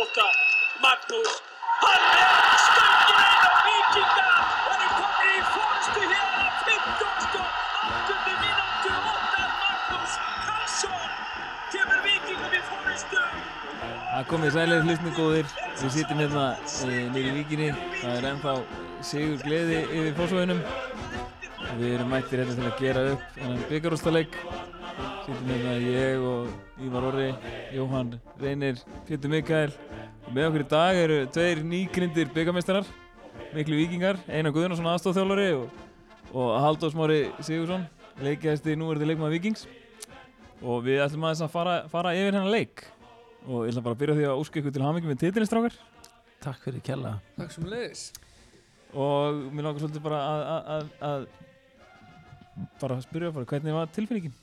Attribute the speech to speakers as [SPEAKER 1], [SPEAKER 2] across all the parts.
[SPEAKER 1] Óta, Magnús, hann er stöngin einn á vikinga og þeir komið í fórstu hér á 15. áttundu mínútu Óta Magnús Karlsson kemur vikingum í fórstu
[SPEAKER 2] Það komið sælið hlutni góðir, við sittum hérna eh, niður í vikinni, það er ennþá sigur gleði yfir fórsvöðunum og við erum mættir hérna til að gera upp þennan byggarústaleik sittum hérna ég og Ívar Orri, Jóhann Reynir, Pétur Mikael og með okkur í dag eru tveir nýgrindir byggarmeistarar, miklu vikingar, Einar Guðunarsson aðstofþjólari og, og Halldór Smári Sigursson, leikjæðasti núverði leikmaður vikings og við ætlum aðeins að fara, fara yfir hennan leik og ég ætla bara að byrja á því að óska ykkur til hamingi með titilistrákar
[SPEAKER 3] Takk fyrir kella
[SPEAKER 4] Takk sem leiðis.
[SPEAKER 2] og mér langar svolítið bara að, að, að, að bara að spyrja bara hvernig var tilfinningin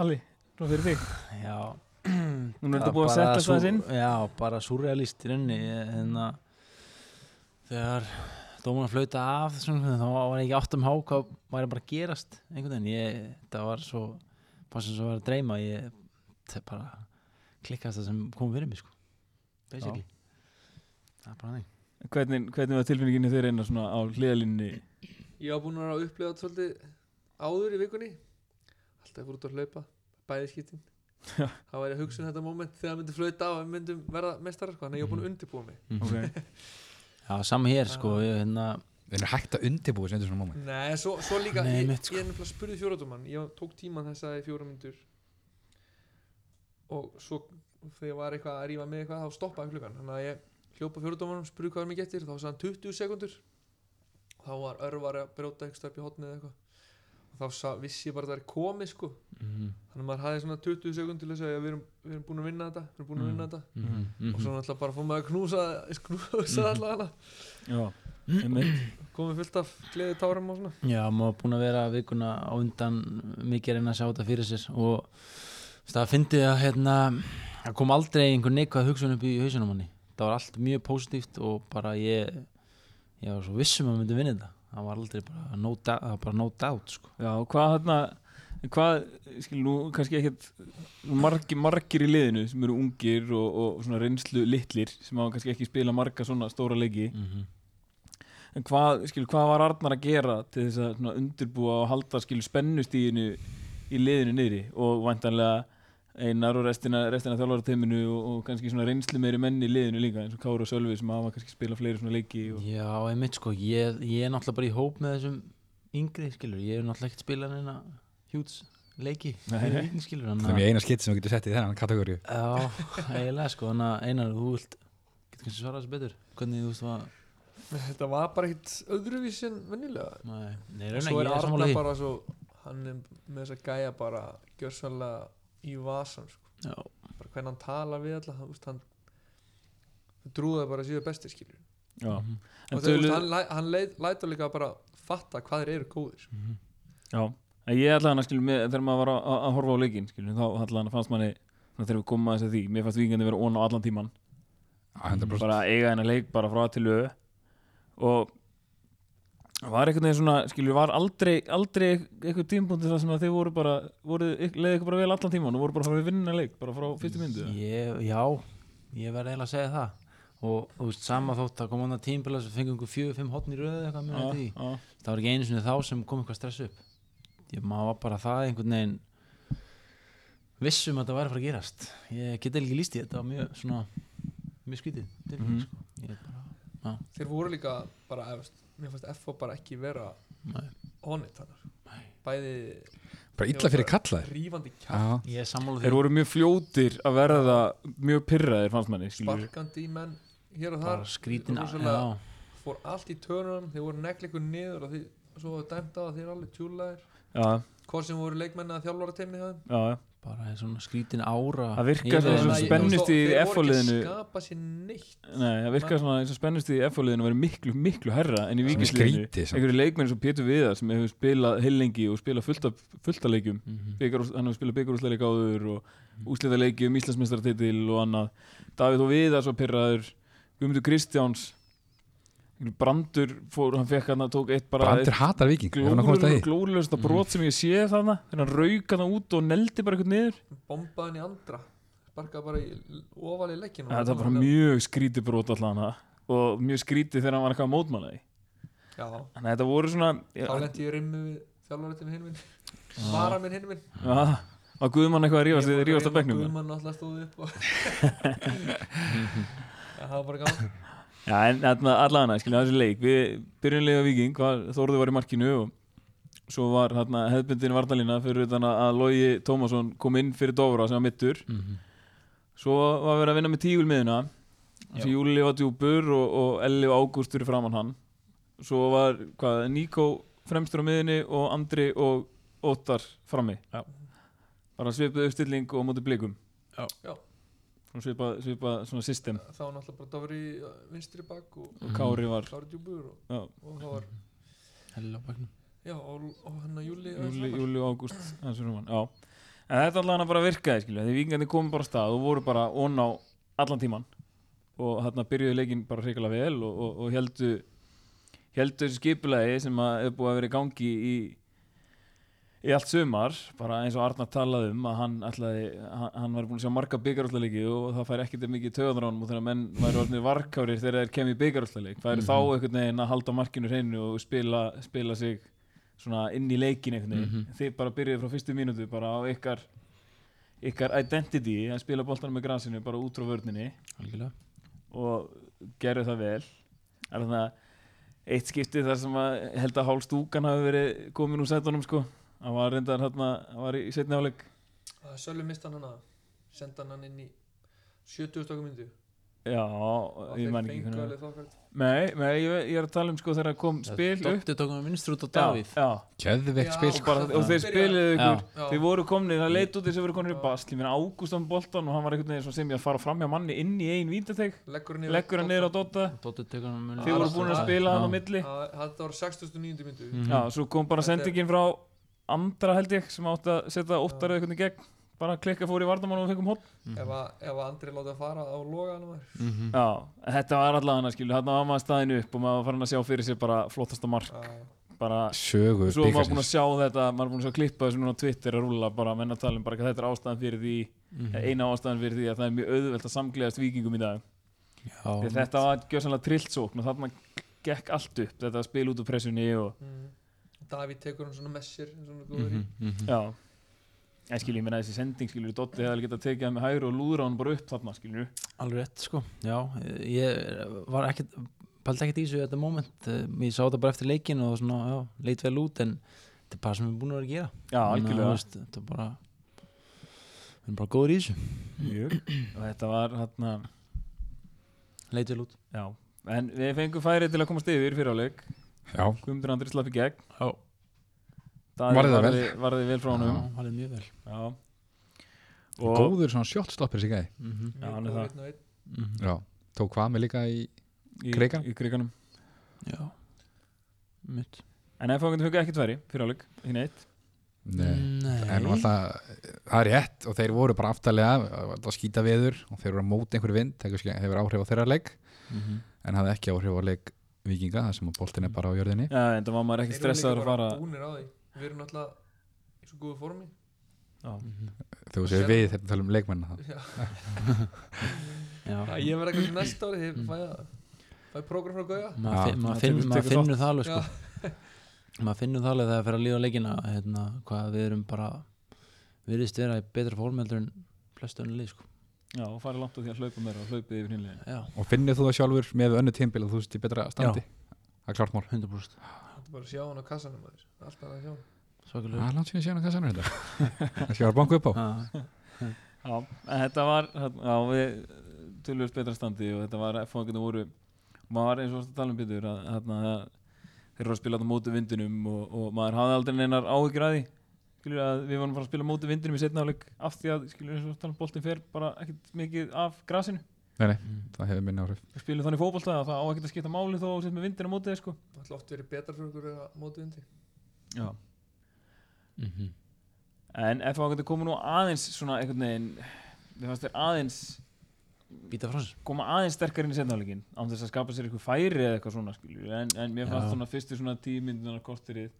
[SPEAKER 2] Alli, svona fyrir þig
[SPEAKER 3] Já
[SPEAKER 2] Nú er
[SPEAKER 3] Það
[SPEAKER 2] þetta búið að
[SPEAKER 3] bara
[SPEAKER 2] setja
[SPEAKER 3] sú-
[SPEAKER 2] það inn
[SPEAKER 3] Já, bara surrealist í rauninni Ég- hérna, Þegar dómarna flauta af svona, þá var ég ekki um áttum há hvað var bara að gerast einhvern veginn ég, það var svo passum svo var að dreyma ég það bara klikkast það sem kom fyrir mig sko basically það er bara þannig
[SPEAKER 2] hvernig, hvernig var tilfinningin þeir eina svona á hliðalínni
[SPEAKER 4] Ég var búinn að vera að upplifa þetta svolítið áður í vikunni. Alltaf fór út að hlaupa, bæði skiptin.
[SPEAKER 2] Já.
[SPEAKER 4] Það var ég að hugsa um þetta moment þegar það myndi flöta á að við myndum verða mestarar sko. Þannig að ég var búinn að undirbúa mig.
[SPEAKER 2] okay.
[SPEAKER 3] Já, saman hér sko ég, hérna,
[SPEAKER 5] Við erum hægt að undirbúið sem þetta svona móma
[SPEAKER 4] Nei, svo, svo líka,
[SPEAKER 3] Nei,
[SPEAKER 4] ég,
[SPEAKER 3] mitt, sko.
[SPEAKER 4] ég er nefnilega spurði fjóradumann Ég tók tíman þess að fjóra myndur Og svo þegar ég var eitthvað að rífa með eitthvað þá stoppaði klukkan Þannig að ég hljópa fjóradumann spurði hvað er mikið eftir þá sagði hann 20 sekundur Þá var örvar að brjóta eitthvað upp í hotnið eða eitthvað og þá sa, vissi ég bara að það er komið sko Þannig að maður hafði svona 20 sekund til að segja við erum, við erum búin að vinna þetta, við erum búin að vinna þetta
[SPEAKER 3] mm
[SPEAKER 4] mhm. og svo náttúrulega bara fór maður að knúsa,
[SPEAKER 3] Mhm.
[SPEAKER 4] knúsa alla hana
[SPEAKER 2] Já, einmitt
[SPEAKER 4] komið fullt af gleði tárum og svona
[SPEAKER 3] Já, maður er búin að vera vikuna á undan mikið að reyna að sjá þetta fyrir sér og þú veist, það fyndið að hérna, það kom aldrei einhver neikvæð hugsun upp í hausunum manni. Það var allt mjög pósitíft og bara ég, ég var svo vissum að myndi vinna þetta. Það var aldrei bara no doubt, það var bara no doubt sko.
[SPEAKER 2] Já, og hvað hérna hvað, skil nú kannski ekkert margir, margir í liðinu sem eru ungir og, og svona reynslu litlir sem hafa kannski ekki spila marga svona stóra leiki
[SPEAKER 3] Mm
[SPEAKER 4] Mhm.
[SPEAKER 2] En hvað, skil, hvað var Arnar að gera til þess að svona, undirbúa og halda skil, spennustíginu í liðinu niðri og vantanlega Einar og restina, restina þjálfarateiminu og, og kannski svona reynslu meiri menn í liðinu líka eins og Káru og Sölvi sem hafa kannski spilað fleiri svona leiki og...
[SPEAKER 3] Já, einmitt sko, ég, ég er náttúrulega bara í hóp með þessum yngri skilur, ég er náttúrulega ekkert spilað neina hjúts leiki,
[SPEAKER 2] Nei.
[SPEAKER 3] Leiki, skilur, þannig
[SPEAKER 5] Það er
[SPEAKER 3] að-
[SPEAKER 5] mjög eina skitt sem þú getur sett í þennan kategóri
[SPEAKER 3] Já, eiginlega sko, þannig að Einar, þú vilt, getur kannski svarað þessu betur, hvernig þú veist það,
[SPEAKER 4] Nei, Þetta var bara ekkert öðruvísi en vennilega
[SPEAKER 3] nei, nei,
[SPEAKER 4] Og
[SPEAKER 3] raunar,
[SPEAKER 4] svo
[SPEAKER 3] ég
[SPEAKER 4] er
[SPEAKER 3] er
[SPEAKER 4] Arna
[SPEAKER 3] sammála því.
[SPEAKER 4] bara svo Hann er með þess að gæja bara Gjörsalega í vasan sko.
[SPEAKER 3] Já,
[SPEAKER 4] bara Hvernig hann talar við alla Hann, úst, hann drúða bara síðu bestir skilur
[SPEAKER 2] Já.
[SPEAKER 4] Mhm. Og
[SPEAKER 2] En
[SPEAKER 4] þegar,
[SPEAKER 2] tölu,
[SPEAKER 4] úst, hann, læ- hann leit, lætur líka bara Fatta hvað þeir eru góðir
[SPEAKER 3] Mm.
[SPEAKER 4] sko.
[SPEAKER 2] já, En ég ætlaði hann að skilja með þegar maður var að, að- að horfa á leikin skilja, þá ætlaði hann að fannst manni svona, þegar við komum að þess að því, mér fannst vikandi vera ón á allan tíman bara
[SPEAKER 5] 100%
[SPEAKER 2] eiga hennar leik bara frá A til öðu og var einhvern veginn svona, skilur, var aldrei aldrei eitthvað tímpúndi þar sem að þið voru bara, voru, leiði ykkur bara vel allan tíman og voru bara að fara að vinna leik, bara frá fyrstu myndu
[SPEAKER 3] ég, já, ég verði eiginlega að segja það og þú veist, sama þótt að koma hann að tímbila sem fengi einhver fjögur, fimm hotn í röðu eitthvað mér að því,
[SPEAKER 2] Já,
[SPEAKER 3] það var ekki einu sinni þá sem kom eitthvað stress upp ég maður var bara það einhvern veginn vissum að það væri að fara að gerast ég geti ekki líst í þetta, það var mjög svona mjög skrítið, þetta
[SPEAKER 2] Mhm.
[SPEAKER 3] sko ég er bara,
[SPEAKER 4] Þeir voru líka bara efst, Mér fannst F.O. bara ekki vera
[SPEAKER 3] nei,
[SPEAKER 4] Honit hannar Bæði
[SPEAKER 5] Bara illa fyrir kallaðir
[SPEAKER 4] rífandi kjátt
[SPEAKER 5] Já,
[SPEAKER 3] ég er sammála
[SPEAKER 2] þeir
[SPEAKER 3] því
[SPEAKER 2] voru mjög fljótir að verða mjög pyrraðir fannst manni, skilur
[SPEAKER 4] Sparkandi í menn Hér og þar
[SPEAKER 3] bara skrítin,
[SPEAKER 4] Og rosalega-
[SPEAKER 3] já,
[SPEAKER 4] fór allt í törunum, þeir voru negli ykkur niður og því, svo var dæmt á að þeir eru alveg tjúlaðir
[SPEAKER 2] Já,
[SPEAKER 4] hvort sem voru leikmenn að þjálfara teimni hjá þeim
[SPEAKER 2] já, já,
[SPEAKER 3] bara svona skrítin ára
[SPEAKER 2] Það virkar svona
[SPEAKER 3] yfir þeim.
[SPEAKER 2] sem
[SPEAKER 4] Þannig að-
[SPEAKER 2] spennu- spennust í
[SPEAKER 4] Þeir voru ekki að
[SPEAKER 2] FO-liðinu.
[SPEAKER 4] skapa sér neitt
[SPEAKER 2] nei, það virkar svona eins og spennust í F-fóliðinu verið miklu, miklu herra en í
[SPEAKER 5] Sem er
[SPEAKER 2] vikisliðinu,
[SPEAKER 5] skrítið samt.
[SPEAKER 2] einhverju leikmenn sem Pétur Viðar sem hefur spilað heilengi og spilað fullta, fullta leikjum
[SPEAKER 3] Mhm.
[SPEAKER 2] byggarúst, hann hefur spilað byggarústleik áður og
[SPEAKER 5] Mhm.
[SPEAKER 2] úslitaleiki um Íslandsmeistartitil og annað. Davíð og Viðar svo pyrraður, Guðmundur Kristjáns Brandur fór, hann fekk hann að tók eitt bara
[SPEAKER 5] Brandur hatar viking ef hann komst að Mhm. því.
[SPEAKER 2] glóðlösta brot sem ég sé þarna þannig að hann rauk hann út og neldi bara eitthvað niður
[SPEAKER 4] bombaðan í andra sparkaði bara í, ofan í leggina
[SPEAKER 2] Þetta var bara mjög skrítið brot allan það og mjög skrítið þegar hann var eitthvað að mótmála því
[SPEAKER 4] já,
[SPEAKER 2] Þannig að þetta voru svona
[SPEAKER 4] þá
[SPEAKER 2] Já,
[SPEAKER 4] lendi ég í rimmu við þjálfarættinu hinn minn svara minn hinn minn
[SPEAKER 2] var Guðmann eitthvað að rífast þið rífast á bekknum eða?
[SPEAKER 4] Guðmann alltaf stóði upp og Já, það var bara gaman
[SPEAKER 2] Já, en þarna allan að skilja þessi leik Við byrjum leika viking, var, Þórður var í markinu og svo var þarna hefðbundin vartalina fyrir utan að- að Logi Tómasson kom inn fyrir Dóra sem var mittur
[SPEAKER 3] Mhm.
[SPEAKER 2] Svo var verið að vinna með tígulmiðuna Svo Júli var djúpur og, og Elli og Ágúst fyrir framann hann Svo var hvað, Níko fremstur á miðinni og Andri og Óttar frammi
[SPEAKER 3] Já.
[SPEAKER 2] Bara svipað uppstilling og á móti blikum
[SPEAKER 3] Já.
[SPEAKER 4] Já.
[SPEAKER 2] Svona Svipað, svipað svona system
[SPEAKER 4] þá var náttúrulega bara Dofri vinstri bak og
[SPEAKER 3] Mhm.
[SPEAKER 2] og Kári var
[SPEAKER 4] Kári Djúbur og,
[SPEAKER 2] Já.
[SPEAKER 4] og það var
[SPEAKER 3] Hello, bagnum.
[SPEAKER 4] já, og, og hann að Júli aðeins
[SPEAKER 2] Júli,
[SPEAKER 4] framar.
[SPEAKER 2] júli og ágúst hans er rúman, já en þetta allan að bara virkaði skilja því vingandi komum bara af stað og voru bara onn á allan tíman og þarna byrjuðu leikinn bara hrikalega vel og, og, og heldu heldu þessu skipulagi sem að hefur búið að vera í gangi í í allt sumar, bara eins og Arnar talaði um að hann ætlaði, hann, hann var búin að sjá marga byggarúslaleiki og það fær ekkert mikið töðanránum og þegar menn væri orðinir varkárir þegar þeir kemur í byggarúslaleik, það eru þá einhvern veginn að halda markinu hreinu og spila, spila sig svona inn í leikin einhvern veginn þið bara byrjuðu frá fyrstu mínútu bara á ykkar ykkar identity að spila boltanum með grasinu bara út frá vörninni
[SPEAKER 3] Algjörlega.
[SPEAKER 2] og gerðu það vel er það eitt skipti þar sem að ég held að hálf stúkan hafi verið komin úr sætunum sko hann var reyndar hérna, hann var í setni áleik
[SPEAKER 4] Það er Sölvi mistan hann að senda hann inn í 70 stöku myndi
[SPEAKER 2] já, ég man ekki hvernig nei, nei, ég, ég er að tala um sko þegar kom spil upp
[SPEAKER 3] Dotti tók með minnstri út á
[SPEAKER 2] já,
[SPEAKER 3] Davíð.
[SPEAKER 2] já,
[SPEAKER 5] Gjöðveikt
[SPEAKER 4] Já.
[SPEAKER 5] spil
[SPEAKER 2] og,
[SPEAKER 5] sko.
[SPEAKER 2] bara, og þeir spiluðu
[SPEAKER 3] Já.
[SPEAKER 2] ykkur
[SPEAKER 4] Já.
[SPEAKER 2] þeir voru komnir, það leit út þess að voru komnir í basl ég meina Ágústan Boltan og hann var einhvern veginn svona sem ég að fara fram hjá manni inn í einn víndateg
[SPEAKER 4] leggur hann
[SPEAKER 2] leggur hann niður á Dota
[SPEAKER 3] Dotti tók hann með
[SPEAKER 2] þeir voru búin að spila hann á milli
[SPEAKER 4] Að- þetta var 69. myndu
[SPEAKER 3] Mhm.
[SPEAKER 2] já, svo kom bara
[SPEAKER 4] Þetta er-
[SPEAKER 2] sendingin frá andra held ég sem átti að setja óttar eða einhvern veginn gegn bara klikka fór í vardamann og fengum hótt
[SPEAKER 4] ef, að, ef að Andri látið að fara á loga hann var
[SPEAKER 3] Mhm.
[SPEAKER 2] já, þetta var allavega hann að skilja þarna var maður staðin upp og maður var farin að sjá fyrir sér bara flottasta mark
[SPEAKER 4] Já,
[SPEAKER 2] bara
[SPEAKER 5] Sögu
[SPEAKER 2] svo er maður búin að
[SPEAKER 5] byggarsins.
[SPEAKER 2] sjá þetta maður er búin að sjá klippa þessu núna á Twitter að rúla bara menn að tala um bara hvað þetta er ástæðan fyrir því eina ástæðan fyrir því að það er mjög auðvelt að samgleðast vikingum í dag Þegar
[SPEAKER 3] Já,
[SPEAKER 2] þetta var gjössanlega trilltsókn og þarna gekk allt upp þetta spil út úr pressunni og
[SPEAKER 4] mm. Davíð tekur hann svona messir svona góður
[SPEAKER 2] Mhm.
[SPEAKER 4] í
[SPEAKER 3] Mhm.
[SPEAKER 2] já en skilji, ég meina þessi sending skilju Dotti hefði alveg getað tekið það með hægri og lúðra hann bara upp þarna skilju
[SPEAKER 3] alveg rétt sko Já, ég eh, var ekkert Paldi ekkert í þessu þetta moment Eh, Ég sá þetta bara eftir leikin og svona, já, leit vel út En þetta er bara sem við erum búin að vera að gera
[SPEAKER 2] já,
[SPEAKER 3] Þannig að, þú
[SPEAKER 2] algjörlega
[SPEAKER 3] veist, Þetta er bara Við erum bara góður í þessu
[SPEAKER 2] Mjög. og þetta var þarna
[SPEAKER 3] Leit vel út
[SPEAKER 2] já, en við fengum færi til að komast yfir fyrir áleik
[SPEAKER 5] Já,
[SPEAKER 2] Guðmundur Andri slapp í gegn
[SPEAKER 3] Já,
[SPEAKER 5] Varði það
[SPEAKER 2] varði, varði vel frá honum
[SPEAKER 3] það er mjög vel
[SPEAKER 2] já. og
[SPEAKER 5] góður svona shot stoppers í gæði.
[SPEAKER 3] mm -hmm.
[SPEAKER 2] Já, hann er það.
[SPEAKER 4] einn og einn.
[SPEAKER 2] Mhm.
[SPEAKER 5] Já, tók hvað með líka í
[SPEAKER 2] í,
[SPEAKER 5] Krikan?
[SPEAKER 2] í kriganum
[SPEAKER 3] Já Mitt
[SPEAKER 2] en ef fangandi fengið ekkert færi fyrir áleik í neitt
[SPEAKER 5] Nei.
[SPEAKER 3] Nei
[SPEAKER 5] En nú alltaf, það er rétt og þeir voru bara aftalega, það var alltaf skýta veður og þeir voru að móta einhverju vind, það kannski hefur áhrif á þeirra leik,
[SPEAKER 3] Mhm.
[SPEAKER 5] en hafði ekki áhrif á leik vikinga, það sem að boltin er bara á jörðinni.
[SPEAKER 2] já, en það var maður ekki
[SPEAKER 4] Þeir eru líka
[SPEAKER 2] stressaður að fara
[SPEAKER 4] bara búnir á því við erum náttúrulega í svo góðu formi
[SPEAKER 3] Mhm.
[SPEAKER 5] Þú séu við þetta tala um leikmenn það.
[SPEAKER 4] Já.
[SPEAKER 3] Já
[SPEAKER 4] Já, ég verð eitthvað næsta ári þegar fæ að fæ prógram frá Gauja
[SPEAKER 5] Já,
[SPEAKER 3] maður finn,
[SPEAKER 2] það
[SPEAKER 3] mað finn,
[SPEAKER 2] tekur-
[SPEAKER 3] mað
[SPEAKER 2] tekur
[SPEAKER 3] finnur það alveg
[SPEAKER 4] Já.
[SPEAKER 3] sko. maður finnur það alveg þegar það fer að líða á leikina hérna, hvað við erum bara við erum vera í betra fórmeldur en flestu önni lið sko.
[SPEAKER 2] já, og farið langt á því að hlaupa meira og hlaupið yfir hinlega
[SPEAKER 3] já,
[SPEAKER 5] Og finnir þú það sjálfur með önnu tímbil að þú sést í betra standi? Það er klart mál.
[SPEAKER 3] 100%
[SPEAKER 4] þetta er bara að sjá hann á kassanum maður. alltaf að sjá
[SPEAKER 2] Mm.
[SPEAKER 4] hann
[SPEAKER 5] Það
[SPEAKER 3] svakalega
[SPEAKER 5] er langt síðan síðan að hvað sannar þetta. Það sé að banka upp á.
[SPEAKER 3] Já,
[SPEAKER 2] Já, en þetta var já, við tölvöld betra standi og þetta var fanginu voru maður var eins og varst að tala um betur að, að, að þeir voru að spila þetta móti vindinum og, og maður hafði aldrei neinar áhyggjur að því skilur að við vorum að fara að spila móti vindinum í setna áleik af því að skilur eins og varst að tala um boltin fer bara ekkert mikið af grasinu
[SPEAKER 5] Nei, nei,
[SPEAKER 3] Mm-hmm.
[SPEAKER 5] það hefur minna áhrif.
[SPEAKER 2] við spilum þannig fótbolta að það á ekkert að skipta máli þó að setja með vindin á móti þér, sko.
[SPEAKER 4] alltaf oft verið betra fyrir okkur að móti undi
[SPEAKER 2] Já.
[SPEAKER 3] Mm-hmm.
[SPEAKER 2] en ef það komið nú aðeins svona einhvern veginn við fannst þér aðeins
[SPEAKER 3] býta frá sér
[SPEAKER 2] koma aðeins sterkar inn í setnáleikin án þess að skapa sér eitthvað færi eða eitthvað svona skilur en, en mér fannst
[SPEAKER 3] Já.
[SPEAKER 2] svona fyrstu svona tímyndunar korterið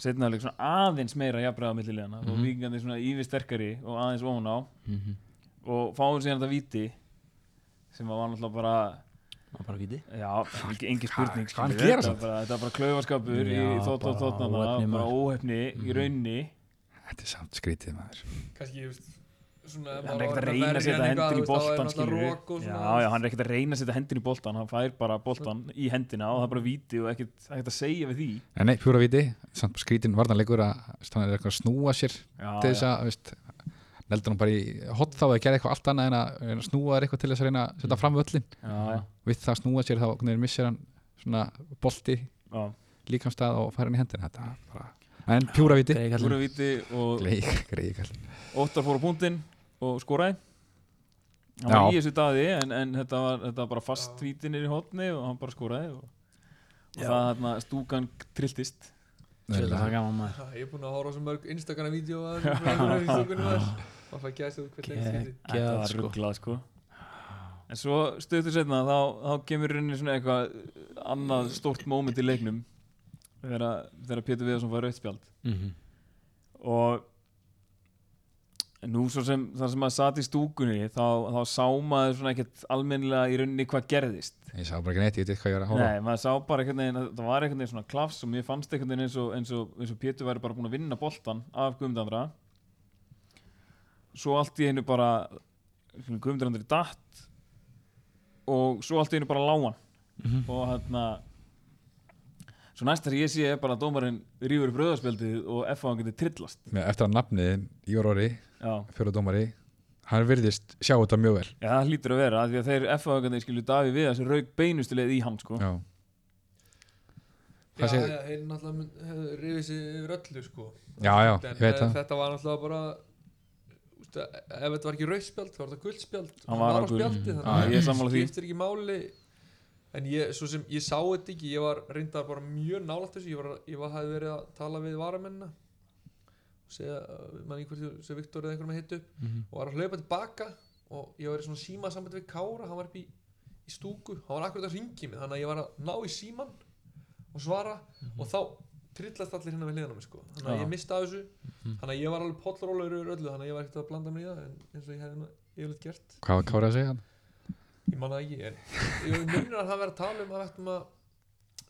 [SPEAKER 2] setnáleik
[SPEAKER 3] Mm-hmm.
[SPEAKER 2] svona aðeins meira jafnbræða millilegana mm -hmm. og vikandi svona yfir sterkari og aðeins ofan á og fáum síðan þetta víti sem var náttúrulega bara
[SPEAKER 3] maður bara viti
[SPEAKER 2] já, engi- engin spurning
[SPEAKER 5] hvað hann
[SPEAKER 2] skilur,
[SPEAKER 5] gera
[SPEAKER 2] þetta,
[SPEAKER 5] samt?
[SPEAKER 2] var bara, þetta var bara klaufaskapur í
[SPEAKER 3] Já,
[SPEAKER 2] þótt og
[SPEAKER 3] bara
[SPEAKER 2] þóttnana
[SPEAKER 3] óheppni
[SPEAKER 2] bara
[SPEAKER 3] maður.
[SPEAKER 2] óhefni í raunni
[SPEAKER 5] Þetta er samt skrítið maður
[SPEAKER 4] kannski, ég veist svona, ef
[SPEAKER 2] hann er
[SPEAKER 4] maður
[SPEAKER 2] ekkert
[SPEAKER 4] var
[SPEAKER 2] að reyna að
[SPEAKER 4] verri en
[SPEAKER 2] setja
[SPEAKER 4] eitthvað,
[SPEAKER 2] hendin í
[SPEAKER 4] þú veist, þá er
[SPEAKER 2] boltan
[SPEAKER 4] náttúrulega
[SPEAKER 2] skilur
[SPEAKER 4] rok og
[SPEAKER 2] já,
[SPEAKER 4] svona,
[SPEAKER 2] já, hann er ekkert að reyna að setja hendin í boltan hann fær bara boltan í hendina og það er bara víti og ekkert, ekkert að segja við því
[SPEAKER 5] En nei, fjóra viti, samt skrítin varnarleikur að þú veist, hann er eitthvað að snúa sér til
[SPEAKER 2] já,
[SPEAKER 5] þess að, þú veist neldur hann bara í hot þá að gera eitthvað allt annað en að, en að snúa þér eitthvað til þess að reyna að setja
[SPEAKER 2] Mm.
[SPEAKER 5] fram völlin
[SPEAKER 2] já, já,
[SPEAKER 5] við það að snúa sér þá hvernig missir hann svona bolti
[SPEAKER 2] já.
[SPEAKER 5] líkamstað og fær hann í hendina þetta er bara en pjúra viti
[SPEAKER 3] Greikallinn.
[SPEAKER 2] Úra víti og
[SPEAKER 5] greið
[SPEAKER 2] Óttar fór á punktinn og skoraði hann
[SPEAKER 5] Já.
[SPEAKER 2] var í þessu daði en, en þetta, var, þetta var bara fast
[SPEAKER 4] Já.
[SPEAKER 2] víti nýri hótni og hann bara skoraði og, og
[SPEAKER 3] Já.
[SPEAKER 2] það hérna stúkan trilltist
[SPEAKER 3] Sjöld að það er gaman maður
[SPEAKER 4] Ha, ég er búinn að horfa á svo mörg Instagram-vídeó að það fæ gæst úr hvert
[SPEAKER 3] Geggjað.
[SPEAKER 4] einskipti
[SPEAKER 2] þetta var
[SPEAKER 3] sko.
[SPEAKER 2] rugglað sko en svo stöttu setna þá, þá kemur í rauninni svona eitthvað annað stórt moment í leiknum þegar, þegar Pétur Viðarsson fær rauðspjald
[SPEAKER 3] Mhm.
[SPEAKER 2] og nú svo sem þar sem maður satt í stúkunni þá, þá sá maður svona ekkert almennilega í rauninni hvað gerðist
[SPEAKER 5] ég sá bara ekki neitt, ég veit ekki hvað ég var að hóra
[SPEAKER 2] Nei, maður sá bara einhvern veginn, að það var einhvern veginn svona klafs og mér fannst einhvern veginn eins og, eins og, eins og Pétur væri bara búin að vinna boltan af Guðmundandra svo allt í einu bara Guðmundandri datt og svo allt í einu bara lágan
[SPEAKER 3] Mhm.
[SPEAKER 2] og hérna svo næst þegar ég sé er bara að dómarinn rýfur upp rauðarspjaldið og F.A. hann getur trillast
[SPEAKER 5] Með- eftir að nafniðin, Ívar Orri,
[SPEAKER 2] Já,
[SPEAKER 5] fjóra dómari hann virðist sjá þetta mjög vel
[SPEAKER 2] Já það hlýtur að vera af því að þeir F.A. hann skilju Daví við þessi rauk beinustilegð í hann sko
[SPEAKER 5] já,
[SPEAKER 4] Já,
[SPEAKER 5] Hvað segir-
[SPEAKER 4] já, þeir náttúrulega mun- hefðu rifið sig yfir öllu sko
[SPEAKER 5] já, já
[SPEAKER 4] En,
[SPEAKER 5] ég veit
[SPEAKER 4] eh,
[SPEAKER 5] það
[SPEAKER 4] Þetta var náttúrulega bara úst, ef þetta var ekki rauðspjald þá var þetta guldspjald
[SPEAKER 2] Hann var á gulu.
[SPEAKER 4] spjaldi
[SPEAKER 2] Já, ég er sammála því.
[SPEAKER 4] skiptir ekki máli en ég, svo sem ég sá þetta ekki ég var reyndar bara mjög nálægt þessu ég, var, ég var, hafði verið að tala við varamennina og segja eh, mann einhvern sem Viktor eða einhverjum að hitta upp
[SPEAKER 3] Mhm.
[SPEAKER 4] og var að hlaupa tilbaka og ég var í svona síma samband við Kára hann var upp í, í stúku hann var akkurat að ringi mig þannig að ég var að ná í síman og svara og þá trillast allir hérna með hliðan á mig sko. þannig að
[SPEAKER 2] Já.
[SPEAKER 4] ég misti af þessu þannig að ég var alveg pollrólegur yfir öllu þannig að ég var ekkert að blanda mér í það en eins og ég hefði nú yfirleitt gert
[SPEAKER 5] hvað var Kári að segja hann?
[SPEAKER 4] ég man það ekki en ég munir að það vera að tala um að við ættum að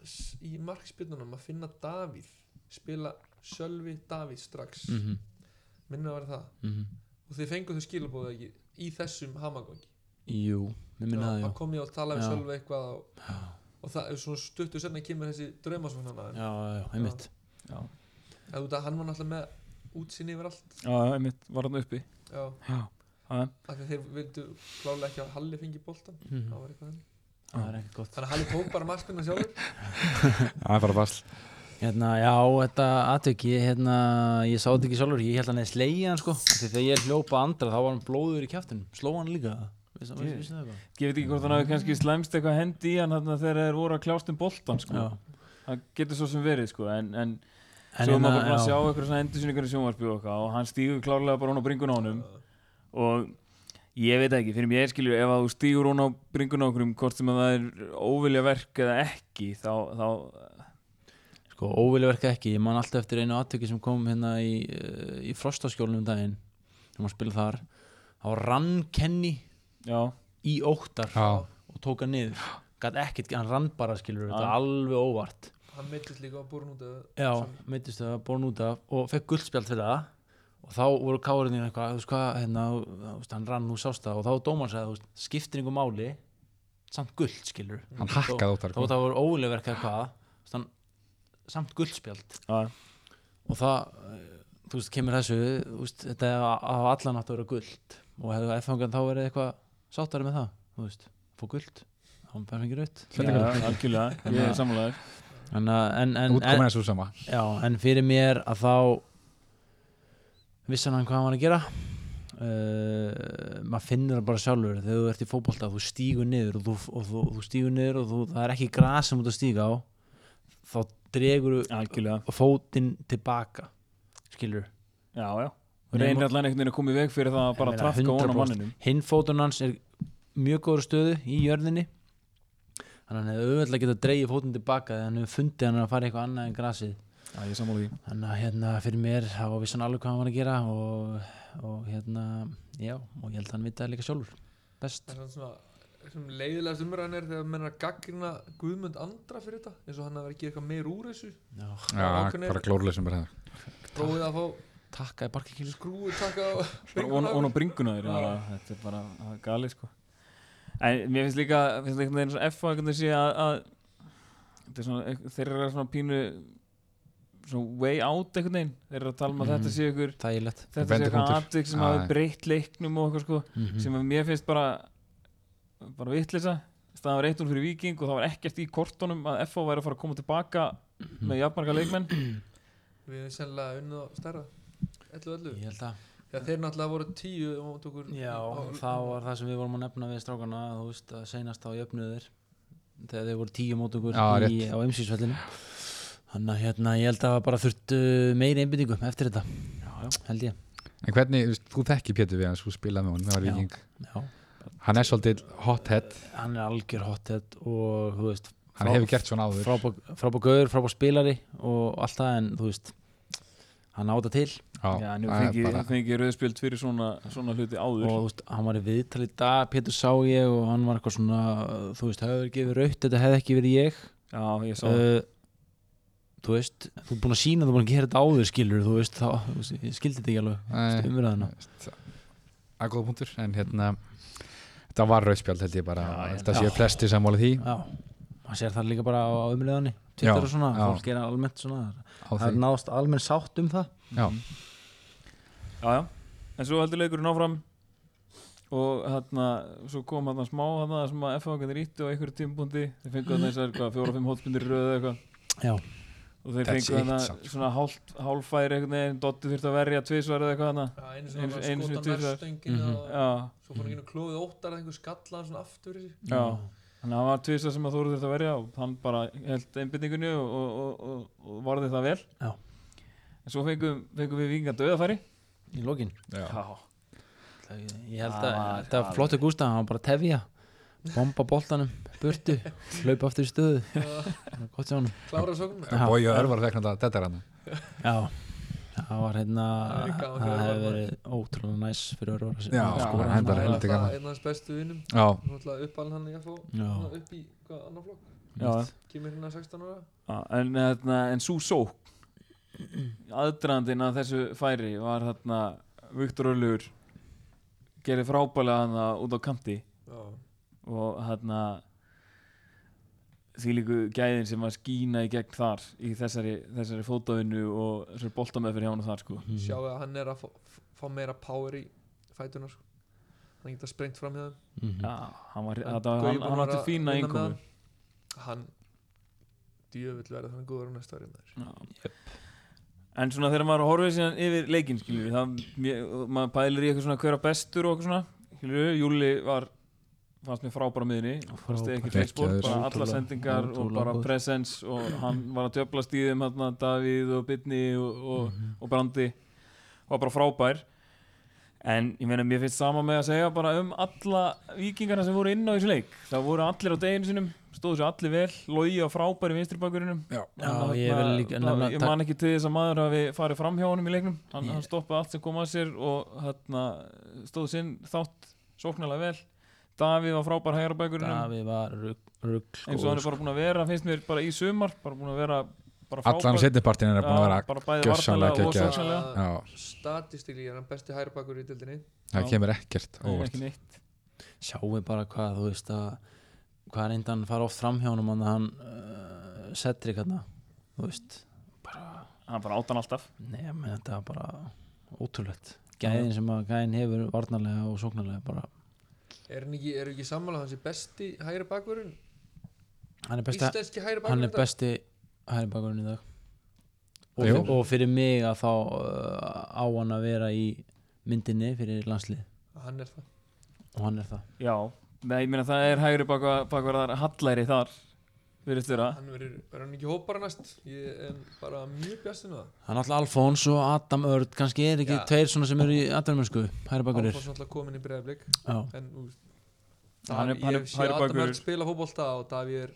[SPEAKER 4] s- í markspilnunum að finna Davíð spila Sölvi Davíð strax mm.
[SPEAKER 3] Mhm.
[SPEAKER 4] minnir að vera það
[SPEAKER 3] Mhm.
[SPEAKER 4] og þið fenguð þau skilabóðu ekki í þessum hamagangi
[SPEAKER 3] Jú, við minna það
[SPEAKER 4] já,
[SPEAKER 3] já
[SPEAKER 4] hann kom ég og talaði
[SPEAKER 3] Já.
[SPEAKER 4] við Sölvi eitthvað og, og það er svona stuttu senna kemur þessi draumasvon hana en
[SPEAKER 3] Já, já, já, einmitt
[SPEAKER 4] ja. út að hann var náttúrulega með útsinni yfir allt
[SPEAKER 2] Já, einmitt, var hann uppi
[SPEAKER 4] já,
[SPEAKER 2] Já.
[SPEAKER 4] af því að þeir vildu klálega ekki að Halli fengi boltan
[SPEAKER 3] Mhm.
[SPEAKER 4] það var eitthvað þannig
[SPEAKER 3] Það er ekkert gott
[SPEAKER 4] þannig að Halli tók bara markspilna sjálfur
[SPEAKER 5] það er bara basl
[SPEAKER 3] Hérna, já, þetta aðtök, ég, hérna, ég sá þetta ekki sjálfur, ég held hann eða slegið hann sko, Af því þegar ég hljópa andra þá var hann blóður í kjæftinum, sló hann líka, vissi
[SPEAKER 2] Ég-
[SPEAKER 3] vissi það eitthvað?
[SPEAKER 2] ég veit ekki hvort hann hafi kannski slæmst eitthvað hendi í hann þarna þegar þeir voru að kljást um boltan sko.
[SPEAKER 3] Já,
[SPEAKER 2] það getur svo sem verið sko. en, en,
[SPEAKER 3] En
[SPEAKER 2] svo er
[SPEAKER 3] hérna,
[SPEAKER 2] maður bara að
[SPEAKER 3] já.
[SPEAKER 2] sjá eitthvað svona endursynningar í sjónvarpið og, eitthvað og hann stígur klárlega bara hún á bringun á honum og ég veit ekki, fyrir mér skilur ef að þú stígur hún á bringun á okkurum hvort sem að það er óvilja verk eða ekki þá, þá
[SPEAKER 3] Sko, óvilja verka ekki, ég man alltaf eftir einu aðtöki sem kom hérna í, eh, í frostaskjólnum um daginn, sem að spila þar, þá rann Kenny
[SPEAKER 2] já,
[SPEAKER 3] í óttar
[SPEAKER 5] já,
[SPEAKER 3] og tók hann niður, gæt ekkert, hann rann bara skilur, þetta
[SPEAKER 2] Já.
[SPEAKER 3] alveg óvart.
[SPEAKER 4] hann meittist líka á búrun út af-
[SPEAKER 3] Já,
[SPEAKER 4] Sorry.
[SPEAKER 3] meittist það, bóðin út af og fekk guldspjald fyrir það og þá voru kárinir eitthvað, þú veist hvað, hérna, þú þú veist, hann rann úr sásta og þá dómar sagði, þú veist, skiptir yngur máli, samt guld, skilur.
[SPEAKER 5] hann hakkaði út
[SPEAKER 3] Þá það voru ólega verkað hvað, þú veist, hann, samt guldspjald
[SPEAKER 2] já,
[SPEAKER 3] og það, eh, þú veist, kemur þessu, þú veist, þetta hafa allan átt að vera guld og hefðu effangan þá verið eitthvað sáttari með það, þú veist, fór guld, þá hann bara fengið raut.
[SPEAKER 2] já, algjörlega ég er sammálaður
[SPEAKER 3] En, en, en, en,
[SPEAKER 5] útkomin er svo sama
[SPEAKER 3] Já, en fyrir mér að þá vissan hann hvað hann var að gera uh, maður finnur það bara sjálfur þegar þú ert í fótbolta, þú stígur niður og þú, og þú, þú stígur niður og þú, það er ekki gras sem þú ert að stíga á þá dregur
[SPEAKER 2] algjörlega,
[SPEAKER 3] fótinn tilbaka skilur
[SPEAKER 2] já, já reynir allan einhvern veginn að koma í veg fyrir það að bara trafka hún á manninum
[SPEAKER 3] hinn fótun hans er mjög góður stöðu í jörðinni þannig að hann hefði auðvitað getað að dreigja fótinn tilbaka þegar hann hefði fundið hann að fara í eitthvað annað en grasið
[SPEAKER 2] já, ég er sammála því
[SPEAKER 3] Þannig að hérna fyrir mér þá vissi hann alveg hvað hann var að gera og, og hérna já, og ég held að hann vita líka sjálfur best,
[SPEAKER 4] Það er svona sem leiðilegast umræðan er þegar menn er að gaggrína Guðmund Andra fyrir þetta eins og hann að vera að gera eitthvað meir úr þessu
[SPEAKER 3] já,
[SPEAKER 5] Já,
[SPEAKER 4] ákveðnir-
[SPEAKER 5] bara glórlega sem bara
[SPEAKER 4] prófið að fá
[SPEAKER 3] takkaði barkakýlu sko
[SPEAKER 4] grúi taka á
[SPEAKER 2] bara von, von á bringuna þér ja. þetta er bara það er galið sko en mér finnst líka finnst líka einhvern veginn F að einhvern veginn sé að, að þetta er svona, þeir eru svona pínu svona way out einhvern veginn þeir eru að tala um að
[SPEAKER 5] Mhm.
[SPEAKER 2] þetta sé ykkur
[SPEAKER 3] þægilegt
[SPEAKER 2] þetta sé eitthvað
[SPEAKER 5] Vendipunktur.
[SPEAKER 2] atvik sem
[SPEAKER 5] Já,
[SPEAKER 2] hafi
[SPEAKER 5] já.
[SPEAKER 2] breytt leiknum og eitthvað sko
[SPEAKER 3] Mhm.
[SPEAKER 2] sem að mér finnst bara bara vitlisa það var eitt úr fyrir viking og það var ekkert í kortunum að FH væri að fara að koma tilbaka
[SPEAKER 3] Mhm.
[SPEAKER 2] með jafnmarga leikmenn
[SPEAKER 4] við erum sennilega unnið á stærra ellu ellu
[SPEAKER 3] ég held að,
[SPEAKER 4] þegar þeir náttúrulega voru tíu og mót okkur
[SPEAKER 3] já,
[SPEAKER 4] á-
[SPEAKER 3] það var það sem við vorum að nefna við strákana þú veist að seinast á jöfnuðir þegar þeir voru tíu mót okkur
[SPEAKER 5] Já,
[SPEAKER 3] í, á umsýsvellinu þannig að hérna, ég held að það bara þurftu meiri einbyttingu eftir þetta já, já. held ég
[SPEAKER 5] En hvernig, þú veist, þú þekki Pétur við hans, þú spilaði með honum, það var
[SPEAKER 3] Já.
[SPEAKER 5] viking
[SPEAKER 3] já.
[SPEAKER 5] Hann er svolítið hothead,
[SPEAKER 3] hann er algjör hothead og þú veist
[SPEAKER 5] hann
[SPEAKER 3] frá-
[SPEAKER 5] hefur gert svona áður
[SPEAKER 3] frábær frábær gaur, frábær spilari og allt það en þú veist hann áta til
[SPEAKER 2] Já,
[SPEAKER 5] Já,
[SPEAKER 2] en
[SPEAKER 5] það er
[SPEAKER 2] ég
[SPEAKER 5] bara-
[SPEAKER 2] fengi rauðspjöld fyrir svona, svona hluti áður
[SPEAKER 3] og þú veist, hann var í viðtal í dag Pétur sá ég og hann var eitthvað svona þú veist, hefur verið gefið rautt, þetta hefði ekki verið ég
[SPEAKER 2] Já, ég sá það
[SPEAKER 3] uh, þú veist, þú er búin að sína þú er búin að gera þetta áður skilur þú veist, þá, þú veist, ég skildi þetta ekki alveg
[SPEAKER 5] Nei.
[SPEAKER 3] umræðina
[SPEAKER 5] Það er góða punktur, en hérna Þetta var rauðspjald held ég bara
[SPEAKER 3] Já, ég-
[SPEAKER 5] Ég held að
[SPEAKER 3] já.
[SPEAKER 5] séu flesti sammála því
[SPEAKER 3] já, maður sér það líka bara á á umræðinni Twitter
[SPEAKER 5] Já,
[SPEAKER 3] og svona,
[SPEAKER 5] já.
[SPEAKER 3] fólk er almennt svona
[SPEAKER 5] á
[SPEAKER 3] það
[SPEAKER 5] því
[SPEAKER 3] er náðast almenn sátt um það
[SPEAKER 5] Já,
[SPEAKER 2] Já, já En svo heldur leikurinn áfram og hérna, svo kom hérna smá hérna sem að FH-gæðin rítti á einhverju tímpúndi þeir fengu hérna þessar hvað, fjóra-fimm hótspundir röðu eitthvað
[SPEAKER 3] já,
[SPEAKER 2] og þeir
[SPEAKER 5] That's
[SPEAKER 2] fengu
[SPEAKER 5] it,
[SPEAKER 2] hérna
[SPEAKER 5] samt, sko.
[SPEAKER 2] svona hálf, hálffæri einhvern veginn, Dotti þurfti að verja tvisvar eða eitthvað hérna
[SPEAKER 4] Já, einu sem var
[SPEAKER 2] Einu- einu sinni
[SPEAKER 4] skotan
[SPEAKER 2] tvisvar.
[SPEAKER 4] nærstöngin
[SPEAKER 3] Mhm.
[SPEAKER 4] og
[SPEAKER 2] Já,
[SPEAKER 4] svo fór hann inn og klóðið óttar að einhver skalla hann svona aftur í sig
[SPEAKER 2] já Þannig að það var tvisvar sem að Þóru þurfti að verja og hann bara held einbyrningunni og, og, og, og, og varði það vel
[SPEAKER 3] Já.
[SPEAKER 2] En svo fengum, fengum við vingan döðafæri
[SPEAKER 3] í lokin
[SPEAKER 5] já.
[SPEAKER 2] Já,
[SPEAKER 3] Ég held
[SPEAKER 2] Það
[SPEAKER 3] að
[SPEAKER 2] var-
[SPEAKER 3] þetta
[SPEAKER 2] það
[SPEAKER 3] var flottu Gústa, hann var bara að tefja bomba boltanum, burtu hlaupa aftur í stöðu gott hjá honum
[SPEAKER 4] klára sóknum
[SPEAKER 3] Já.
[SPEAKER 5] Bói og Örvar þekkna þetta, þetta er hann
[SPEAKER 3] Já, það var hérna
[SPEAKER 4] Það er gaman fyrir
[SPEAKER 3] það hefði
[SPEAKER 4] Örvar.
[SPEAKER 3] verið ótrúlega næs fyrir örvar
[SPEAKER 5] Já, hann
[SPEAKER 3] hann
[SPEAKER 5] bara heldur gaman.
[SPEAKER 4] einn af hans bestu vinnum
[SPEAKER 5] Já,
[SPEAKER 4] náttúrulega uppalinn hann í að fá
[SPEAKER 3] Já.
[SPEAKER 4] hann upp í hvað annar flokk
[SPEAKER 2] já
[SPEAKER 4] kemur hérna 16 ára
[SPEAKER 2] Já, en, hérna, en svo sók aðdrandin að þessu færi var hérna Viktor Öllur gerði frábælega hana út á kanti
[SPEAKER 4] já
[SPEAKER 2] og hérna því líku gæðin sem var skína í gegn þar í þessari, þessari fótavinnu og þessari boltameðferð hjá hann þar sko
[SPEAKER 3] Mhm.
[SPEAKER 4] sjá að hann er að fá, fá meira power í fætuna sko. hann geta sprengt fram hjá þeim
[SPEAKER 3] Mhm.
[SPEAKER 2] Já, hann, var,
[SPEAKER 4] Mm. En
[SPEAKER 2] þetta, var,
[SPEAKER 4] Gaui
[SPEAKER 2] hann,
[SPEAKER 4] búinn
[SPEAKER 2] hann
[SPEAKER 4] að
[SPEAKER 2] átti
[SPEAKER 4] vera
[SPEAKER 2] fína
[SPEAKER 4] að vinna með
[SPEAKER 2] einkomu
[SPEAKER 4] hann. hann djöfull verður hann góður á næsta ári með þér
[SPEAKER 2] Já. En svona þegar maður horfið síðan yfir leikinn, skiljum við, það, mér- maður pælir í eitthvað svona hverja bestur og eitthvað svona, skiljum við, Júli var, fannst mér frábæra miðinni, fannst þið ekki
[SPEAKER 5] Frábær.
[SPEAKER 2] fleiksport, bara
[SPEAKER 5] Geggjaður.
[SPEAKER 2] alla
[SPEAKER 3] Ótrúlega-
[SPEAKER 2] sendingar og
[SPEAKER 3] ótrúlega
[SPEAKER 2] bara
[SPEAKER 3] góð.
[SPEAKER 2] presence og hann var að djöflast í þeim, hérna, Davíð og Bitni og, og,
[SPEAKER 5] Mhm.
[SPEAKER 2] og Brandi, var bara frábær. En ég meina, mér finnst sama með að segja bara um alla vikingarna sem voru inn á þessu leik. Það voru allir á deginu sinum, stóðu sér allir vel, logi á frábæri vinstribakurinum.
[SPEAKER 5] já
[SPEAKER 3] Já, ég vil líka
[SPEAKER 2] Þarna-
[SPEAKER 3] nefna-
[SPEAKER 2] hérna ég man ekki til þess að maður hafi farið fram hjá honum í leiknum hann,
[SPEAKER 3] Ég-
[SPEAKER 2] hann stoppaði allt sem kom að sér og hérna, stóð sinn þátt sóknarlega vel Davíð var frábær hægra bækurinn
[SPEAKER 3] Davi var sko. rugg, rugg
[SPEAKER 2] eins og hann er bara búin að vera finnst mér bara í sumar bara búin að vera bara frábær
[SPEAKER 5] Allan setnipartin er búin að
[SPEAKER 2] Já,
[SPEAKER 5] vera
[SPEAKER 2] bara bæði vartanlega
[SPEAKER 5] gjörsamlega
[SPEAKER 2] og
[SPEAKER 5] geggjaður.
[SPEAKER 2] sóknarlega
[SPEAKER 4] Að
[SPEAKER 5] Já,
[SPEAKER 4] statistikli er hann besti hæri bakur í dildinni
[SPEAKER 5] það
[SPEAKER 2] Já.
[SPEAKER 5] kemur ekkert
[SPEAKER 2] Nei,
[SPEAKER 5] óvart
[SPEAKER 2] ekki neitt.
[SPEAKER 3] sjáum bara hvað þú veist að hvað reyndan fara oft fram hjá honum hann að hann uh, setri hérna þú veist, bara
[SPEAKER 2] hann bara átan alltaf
[SPEAKER 3] Nei, ég meina þetta var bara ótrúlegt Gæðin sem að gæðin hefur varnarlega og sóknarlega bara
[SPEAKER 4] er hann ekki, er ekki sammála hans er besti hæri bakurinn
[SPEAKER 3] Hann er besta,
[SPEAKER 4] íslenski hæri
[SPEAKER 3] hann er
[SPEAKER 4] bakurinn
[SPEAKER 3] besti hæri bakurinn í dag og,
[SPEAKER 5] Jú.
[SPEAKER 3] og fyrir mig að þá uh, á hann að vera í myndinni fyrir landslið
[SPEAKER 4] hann er það
[SPEAKER 3] og hann er það
[SPEAKER 2] já, Nei, ég meina það er hægri bakvarðar hallæri þar við erum störa
[SPEAKER 4] hann verður, er hann ekki hópar næst ég er bara mjög bjastinn á það
[SPEAKER 3] Hann er alltaf Alfons og Adam Örd kannski er ekki
[SPEAKER 4] Já.
[SPEAKER 3] tveir svona sem eru í atverðmörsku hæri bakurir
[SPEAKER 4] Áfárs náttúrulega komin í breiðarblik
[SPEAKER 3] Já,
[SPEAKER 4] en úr,
[SPEAKER 2] Hann er-
[SPEAKER 4] Davíð-
[SPEAKER 2] hann er
[SPEAKER 4] ég sé
[SPEAKER 2] hægri
[SPEAKER 4] Adam
[SPEAKER 2] bakvörður.
[SPEAKER 4] Örn spila fótbolta og Davíð er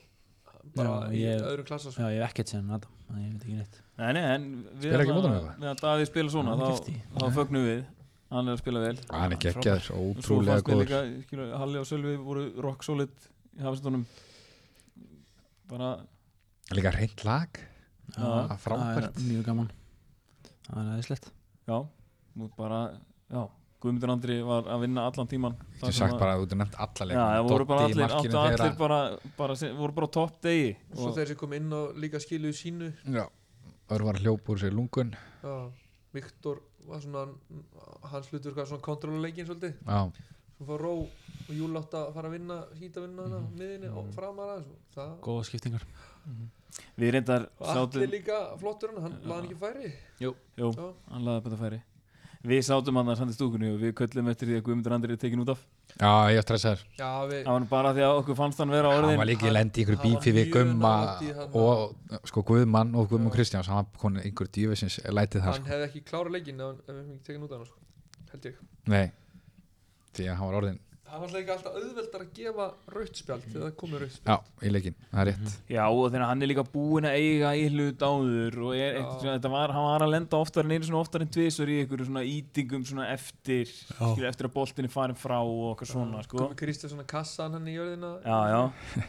[SPEAKER 4] bara
[SPEAKER 3] Já,
[SPEAKER 4] í
[SPEAKER 3] ég-
[SPEAKER 4] öðrum klassa sko.
[SPEAKER 3] já ég hef ekkert séð hann Adam þannig ég veit ekki neitt
[SPEAKER 2] Nei, nei, en við
[SPEAKER 5] Spila
[SPEAKER 2] allavega-
[SPEAKER 5] ekki mót honum eitthvað?
[SPEAKER 2] Meðan Davíð spila svona,
[SPEAKER 3] Hann er
[SPEAKER 2] þá,
[SPEAKER 3] gifti.
[SPEAKER 2] þá fögnum við hann er að spila vel
[SPEAKER 5] Ah, hann er geggjaður,
[SPEAKER 2] Svo
[SPEAKER 5] ótrúlega
[SPEAKER 2] fannst mér
[SPEAKER 5] góður
[SPEAKER 2] líka, skilur, Halli og Sölvi voru rock solid í hafastunum bara
[SPEAKER 5] líka reynd lag, Ah,
[SPEAKER 2] Já.
[SPEAKER 5] það er frábært
[SPEAKER 3] er mjög gaman það er aðeinslegt
[SPEAKER 2] Já, og bara, já, Guðmundur Andri var að vinna allan tíman
[SPEAKER 5] þú sagt bara að þú nefnt
[SPEAKER 2] Já,
[SPEAKER 5] alla leikmenn
[SPEAKER 2] það voru bara
[SPEAKER 5] Doddi í
[SPEAKER 2] allir,
[SPEAKER 5] markinu
[SPEAKER 2] áttu allir
[SPEAKER 5] þeirra.
[SPEAKER 2] bara, bara, sem- voru bara á topp degi
[SPEAKER 4] Svo
[SPEAKER 2] og,
[SPEAKER 4] þeir sem kom inn og líka skiluðu sínu
[SPEAKER 5] Já, örvar hljóp úr sér lungun
[SPEAKER 4] já, Viktor var svona hans hlutur var svona kontróluleikin svolítið
[SPEAKER 5] Já,
[SPEAKER 4] svo fór Ró og Júl átt að fara að vinna hýta að vinna hana
[SPEAKER 2] Mhm.
[SPEAKER 4] mm miðinni og framar aðeins sko. og það
[SPEAKER 3] góða skiptingar
[SPEAKER 2] við reyndar
[SPEAKER 4] og
[SPEAKER 2] sátum
[SPEAKER 4] allir líka flottur hann, hann laði hann ekki færi
[SPEAKER 2] Jú,
[SPEAKER 4] Já.
[SPEAKER 2] hann laði upp þetta færi Við sátum hann að sandi stúkunni og við köllum eftir því að Guðmundur Andri er tekin út af
[SPEAKER 5] já ég er stressaður
[SPEAKER 4] já við
[SPEAKER 2] Það var nú bara því að okkur fannst hann vera á
[SPEAKER 5] hann
[SPEAKER 2] orðin
[SPEAKER 5] var líka í
[SPEAKER 4] hann-
[SPEAKER 5] lendi í einhverju
[SPEAKER 4] hann var
[SPEAKER 5] bífi við
[SPEAKER 4] mjög
[SPEAKER 5] Gumma
[SPEAKER 4] nálægt í þarna.
[SPEAKER 5] og sko Guðmann og Guðmann Kristjáns hann var konin einhverju djöfisins lætið þar
[SPEAKER 4] hann
[SPEAKER 5] sko.
[SPEAKER 4] hefði ekki klára leikin ef, hann- ef við hefum ekki tekið út af hann sko. held ég
[SPEAKER 5] nei, því að hann var orðin
[SPEAKER 4] það var alltaf ekki alltaf auðveldar að gefa rautt spjald þegar það komið rautt spjald
[SPEAKER 5] já, í leikin, það er rétt
[SPEAKER 2] Já, og þannig að hann er líka búinn að eiga í hlut áður og er eitthvað, svona, þetta var, hann var að lenda oftar en einu svona oftar en tvisur í einhverju svona ítingum svona eftir, skilur, eftir að boltin er farin frá og okkar svona, sko.
[SPEAKER 4] komið Kristjánsson að kassa hann hann í jörðina
[SPEAKER 2] Já, já.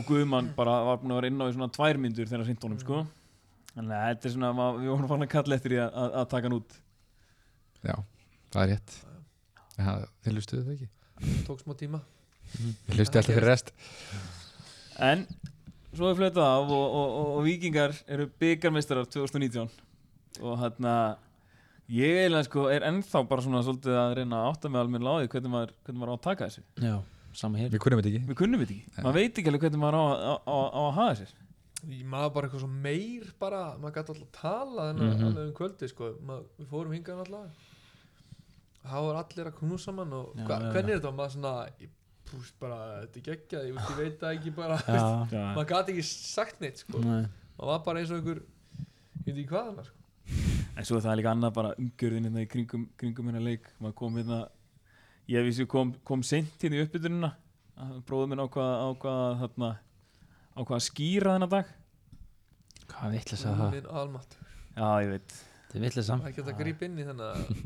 [SPEAKER 2] Og Guðmann bara var búinn að vera inn á í svona tvær myndur þegar hann sýndi honum, sko. Þannig að þetta er svona, ma- við vorum farin að kalla eftir því að, að, að taka hann út.
[SPEAKER 5] já, það er rétt ja, þið lustuðu það ekki
[SPEAKER 4] tók smá tíma
[SPEAKER 5] þið lustuðu alltaf fyrir rest
[SPEAKER 2] En svo er flötað af og, og, og, og vikingar eru byggarmeistarar 2019 og hérna ég eiginlega sko er ennþá bara svona svolítið að reyna að átta með almenn láði hvernig maður, hvernig maður á að taka þessu
[SPEAKER 3] já, sama hér
[SPEAKER 5] við kunnum þetta ekki
[SPEAKER 2] við kunnum þetta ekki, maður veit ekki alveg hvernig maður á, að- á, á, á að hafa sér
[SPEAKER 4] Ég maður bara eitthvað svo meir bara, maður gæti alltaf tala þennan mm
[SPEAKER 3] Mhm.
[SPEAKER 4] alveg um kvöldi sko, maður, við fórum hingað alltaf það var allir að knúsa saman og
[SPEAKER 3] Já,
[SPEAKER 4] hva,
[SPEAKER 3] já,
[SPEAKER 4] hvernig er þetta, maður svona ég, púst bara, þetta er geggjað, ég, ég veit það ekki bara,
[SPEAKER 3] já,
[SPEAKER 2] Já.
[SPEAKER 4] maður gæti ekki sagt neitt sko,
[SPEAKER 3] nei
[SPEAKER 4] maður var bara eins og einhver ég veit ekki hvað hann sko.
[SPEAKER 2] en svo er það líka annað bara umgjörðin hérna í kringum, kringum hérna leik maður kom hérna, ég vissi kom, kom sent hérna í uppbytununa bróðum minn ákvað, ákvað þarna ákvað að skýra þennan dag
[SPEAKER 3] hvað vittlis að það
[SPEAKER 4] minn almatt,
[SPEAKER 2] já ég veit
[SPEAKER 3] þetta er vittlis
[SPEAKER 4] maður gæti að grípa inn í þennan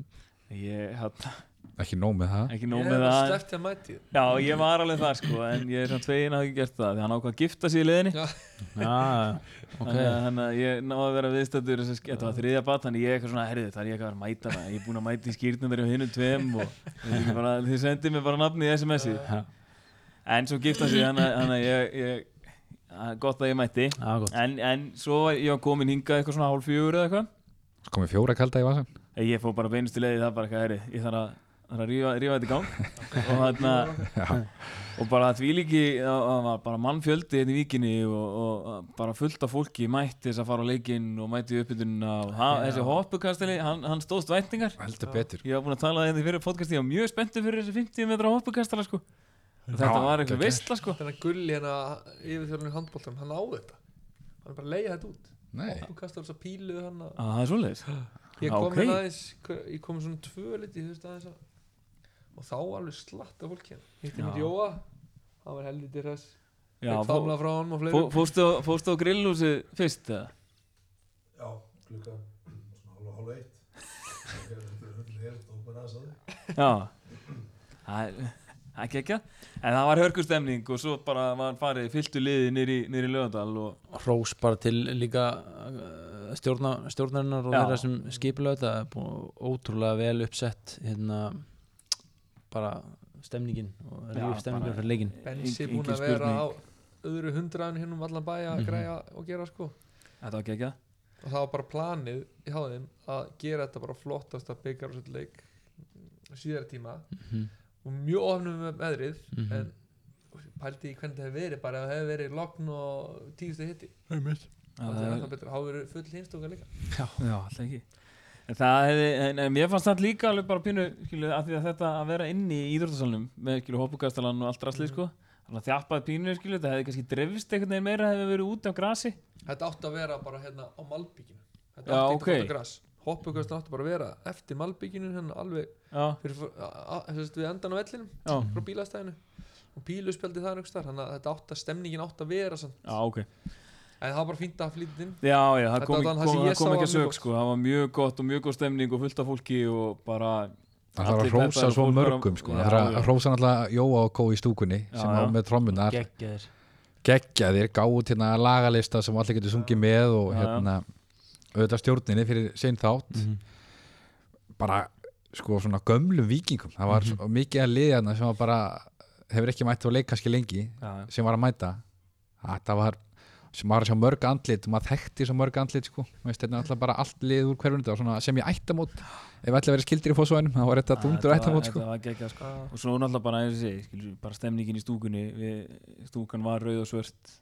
[SPEAKER 2] ég, hérna,
[SPEAKER 5] ekki nóg með það
[SPEAKER 2] ekki
[SPEAKER 4] ég
[SPEAKER 2] nóg
[SPEAKER 4] hef
[SPEAKER 2] með
[SPEAKER 4] að
[SPEAKER 2] það
[SPEAKER 4] sleppt til að mæti
[SPEAKER 2] Já, ég var alveg það sko, en ég er svona tvegin að hafa ekki gert það, því hann ákvað að gifta sig í liðinni
[SPEAKER 4] Já.
[SPEAKER 3] já, ok
[SPEAKER 2] þannig að- þannig að ég náði að vera viðstættur þess að sk- þetta var þriðja bat, þannig ég eitthvað svona herðið, það er ég eitthvað að vera að mæta það, ég er búin að mæta í skýrnundar hjá hinnum tveim og ég veit ekki bara, þið sendið mér bara nafnið í SMS-ið
[SPEAKER 3] já,
[SPEAKER 2] en svo gifta sig, þannig að- þannig að ég, ég að- gott að ég mætti
[SPEAKER 3] já, gott
[SPEAKER 2] en, en svo var- ég var komin hingað eitthvað svona hálf fjögur eða eitthvað
[SPEAKER 5] komið fjóra kalda í vasan
[SPEAKER 2] Ég- ég fór bara beinustu leiði það bara eitthvað herri ég þarf að, þarf að rífa, rífa þetta í gang og þarna og bara því líki það var bara mannfjöldi hérna í vikinni og, og bara fullt af fólki mætti þess að fara á leikinn og mætti uppbytununa og það, þessi hoppukastili, hann, hann stóðst væntingar
[SPEAKER 5] heldur betur
[SPEAKER 2] ég var búin að tala þeim því fyrir podcasti ég var mjög spenntu fyrir þessi 50 metra hoppukastala sko Og þetta
[SPEAKER 5] Já,
[SPEAKER 2] var eitthvað
[SPEAKER 5] geggjað.
[SPEAKER 2] veistla sko
[SPEAKER 4] þennan gulli hérna yfirþjörnum í handbóltum, hann á þetta hann er bara að leiða þetta út
[SPEAKER 5] nei,
[SPEAKER 4] þú kastar þess að pílu hann að
[SPEAKER 2] að það er svoleiðis
[SPEAKER 4] Ég
[SPEAKER 2] Já,
[SPEAKER 4] kom
[SPEAKER 2] ok.
[SPEAKER 4] okay. aðeins, ég kom svona tvö liti, þú veist aðeins að og þá var alveg slatt af fólki hérna. Hittir
[SPEAKER 2] Já.
[SPEAKER 4] mér Jóa, hann var helviti hress
[SPEAKER 2] Já,
[SPEAKER 4] Ég
[SPEAKER 2] fó,
[SPEAKER 4] famla frá honum og
[SPEAKER 2] fó,
[SPEAKER 4] fleirum
[SPEAKER 2] fóstu, á- fóstu á grillhúsi fyrst eða?
[SPEAKER 6] Já, klukkan svona hálfa hálfa eitt. Það er hundið hér, tók mér aðeins að þig.
[SPEAKER 2] Já Það er- það er ekki En það var hörkustemning og svo bara var farið fylltu liði nýri, nýri lögadal og
[SPEAKER 3] hrós bara til líka uh, stjórna, stjórnarinnar og
[SPEAKER 2] Já.
[SPEAKER 3] þeirra sem skipulega þetta er búið ótrúlega vel uppsett hérna bara stemningin og
[SPEAKER 2] Já,
[SPEAKER 3] ríf stemningin
[SPEAKER 2] bara-
[SPEAKER 3] fyrir leikin
[SPEAKER 4] Bensi
[SPEAKER 2] engin-
[SPEAKER 4] búin
[SPEAKER 2] engin
[SPEAKER 4] að vera á
[SPEAKER 2] spurning. Mhm.
[SPEAKER 4] öðru hundraðan hinn um allan bæja að græja og gera sko
[SPEAKER 2] Þetta var ekki
[SPEAKER 4] og það var bara planið í háðin að gera þetta bara flottasta byggar og svolítið leik síðara tíma
[SPEAKER 3] Mhm.
[SPEAKER 4] og mjög ofnum með veðrið
[SPEAKER 3] Mhm.
[SPEAKER 4] en pældi í hvernig það hefði verið bara ef það hefði verið logn og tíustu hitti það er
[SPEAKER 2] Já,
[SPEAKER 4] alltaf betra, þá verið full hinstóka líka
[SPEAKER 2] já alltaf ekki En það hefði, en, en mér fannst það líka alveg bara pínu, skilu, að því að þetta að vera inni í íþróttasalunum með, skilu, hoppukastalan og allt rastlið, sko Þannig að þjappaði pínu, skilu, það hefði kannski drefist einhvern veginn meira hefði verið út af grasi
[SPEAKER 4] Þetta átti að vera bara hérna á Malbygginu Þetta
[SPEAKER 2] Já,
[SPEAKER 4] átti ekki
[SPEAKER 2] ok.
[SPEAKER 4] að fara græs Hoppugast átti bara að vera eftir Malbygginu hérna alveg
[SPEAKER 2] Já,
[SPEAKER 4] fyrir, a, a, sérst, við endan á vellinum
[SPEAKER 2] já,
[SPEAKER 4] frá bílastæðinu og píluspjaldi það einhvers þar þannig að þetta átti að stemningin átti að vera samt.
[SPEAKER 2] já, ok
[SPEAKER 4] en það var bara fínt að flýta inn
[SPEAKER 2] Já, já, það
[SPEAKER 4] Þetta
[SPEAKER 2] kom,
[SPEAKER 4] var
[SPEAKER 2] kom,
[SPEAKER 4] það sem
[SPEAKER 2] kom,
[SPEAKER 4] ég
[SPEAKER 2] það kom
[SPEAKER 4] sá
[SPEAKER 2] ekki að
[SPEAKER 4] var mjög
[SPEAKER 2] sög
[SPEAKER 4] gott.
[SPEAKER 2] sko. það var mjög gott og mjög góð stemning og fullt af fólki og bara
[SPEAKER 5] Það þarf að
[SPEAKER 2] Allir
[SPEAKER 5] hrósa
[SPEAKER 2] peppar og
[SPEAKER 5] svo
[SPEAKER 2] fólk bara-
[SPEAKER 5] mörgum sko.
[SPEAKER 2] Já,
[SPEAKER 5] Það þarf
[SPEAKER 2] já.
[SPEAKER 5] að hrósa náttúrulega Jóa og Kó í stúkunni
[SPEAKER 2] Já,
[SPEAKER 5] sem á
[SPEAKER 2] já.
[SPEAKER 5] með trommunar
[SPEAKER 3] geggjaðir
[SPEAKER 5] geggjaðir, gáðu til hérna lagalista sem allir getur sungið með og
[SPEAKER 2] Já, Mhm. já.
[SPEAKER 5] hérna auðvitað stjórninni fyrir sein þátt bara sko svona gömlum vikingum það var
[SPEAKER 2] Mhm.
[SPEAKER 5] mm mikið að liða þarna sem var bara hefur ekki mætt á leik kannski lengi
[SPEAKER 2] já.
[SPEAKER 5] sem var að mæta þetta var sem var að sjá mörg andlit og maður þekkti svo mörg andlit sko Veist, þetta er alltaf bara allt lið úr hverfinu þetta var svona sem ég ættamót ef ætla að vera skildir í fósvæðinum þá var þetta dundur
[SPEAKER 2] var-
[SPEAKER 5] ættamót sko
[SPEAKER 2] Þetta var geggjað sko Og svo náttúrulega bara, eins og ég segi, skilur, bara stemningin í stúkunni við, Stúkan var rauð og svört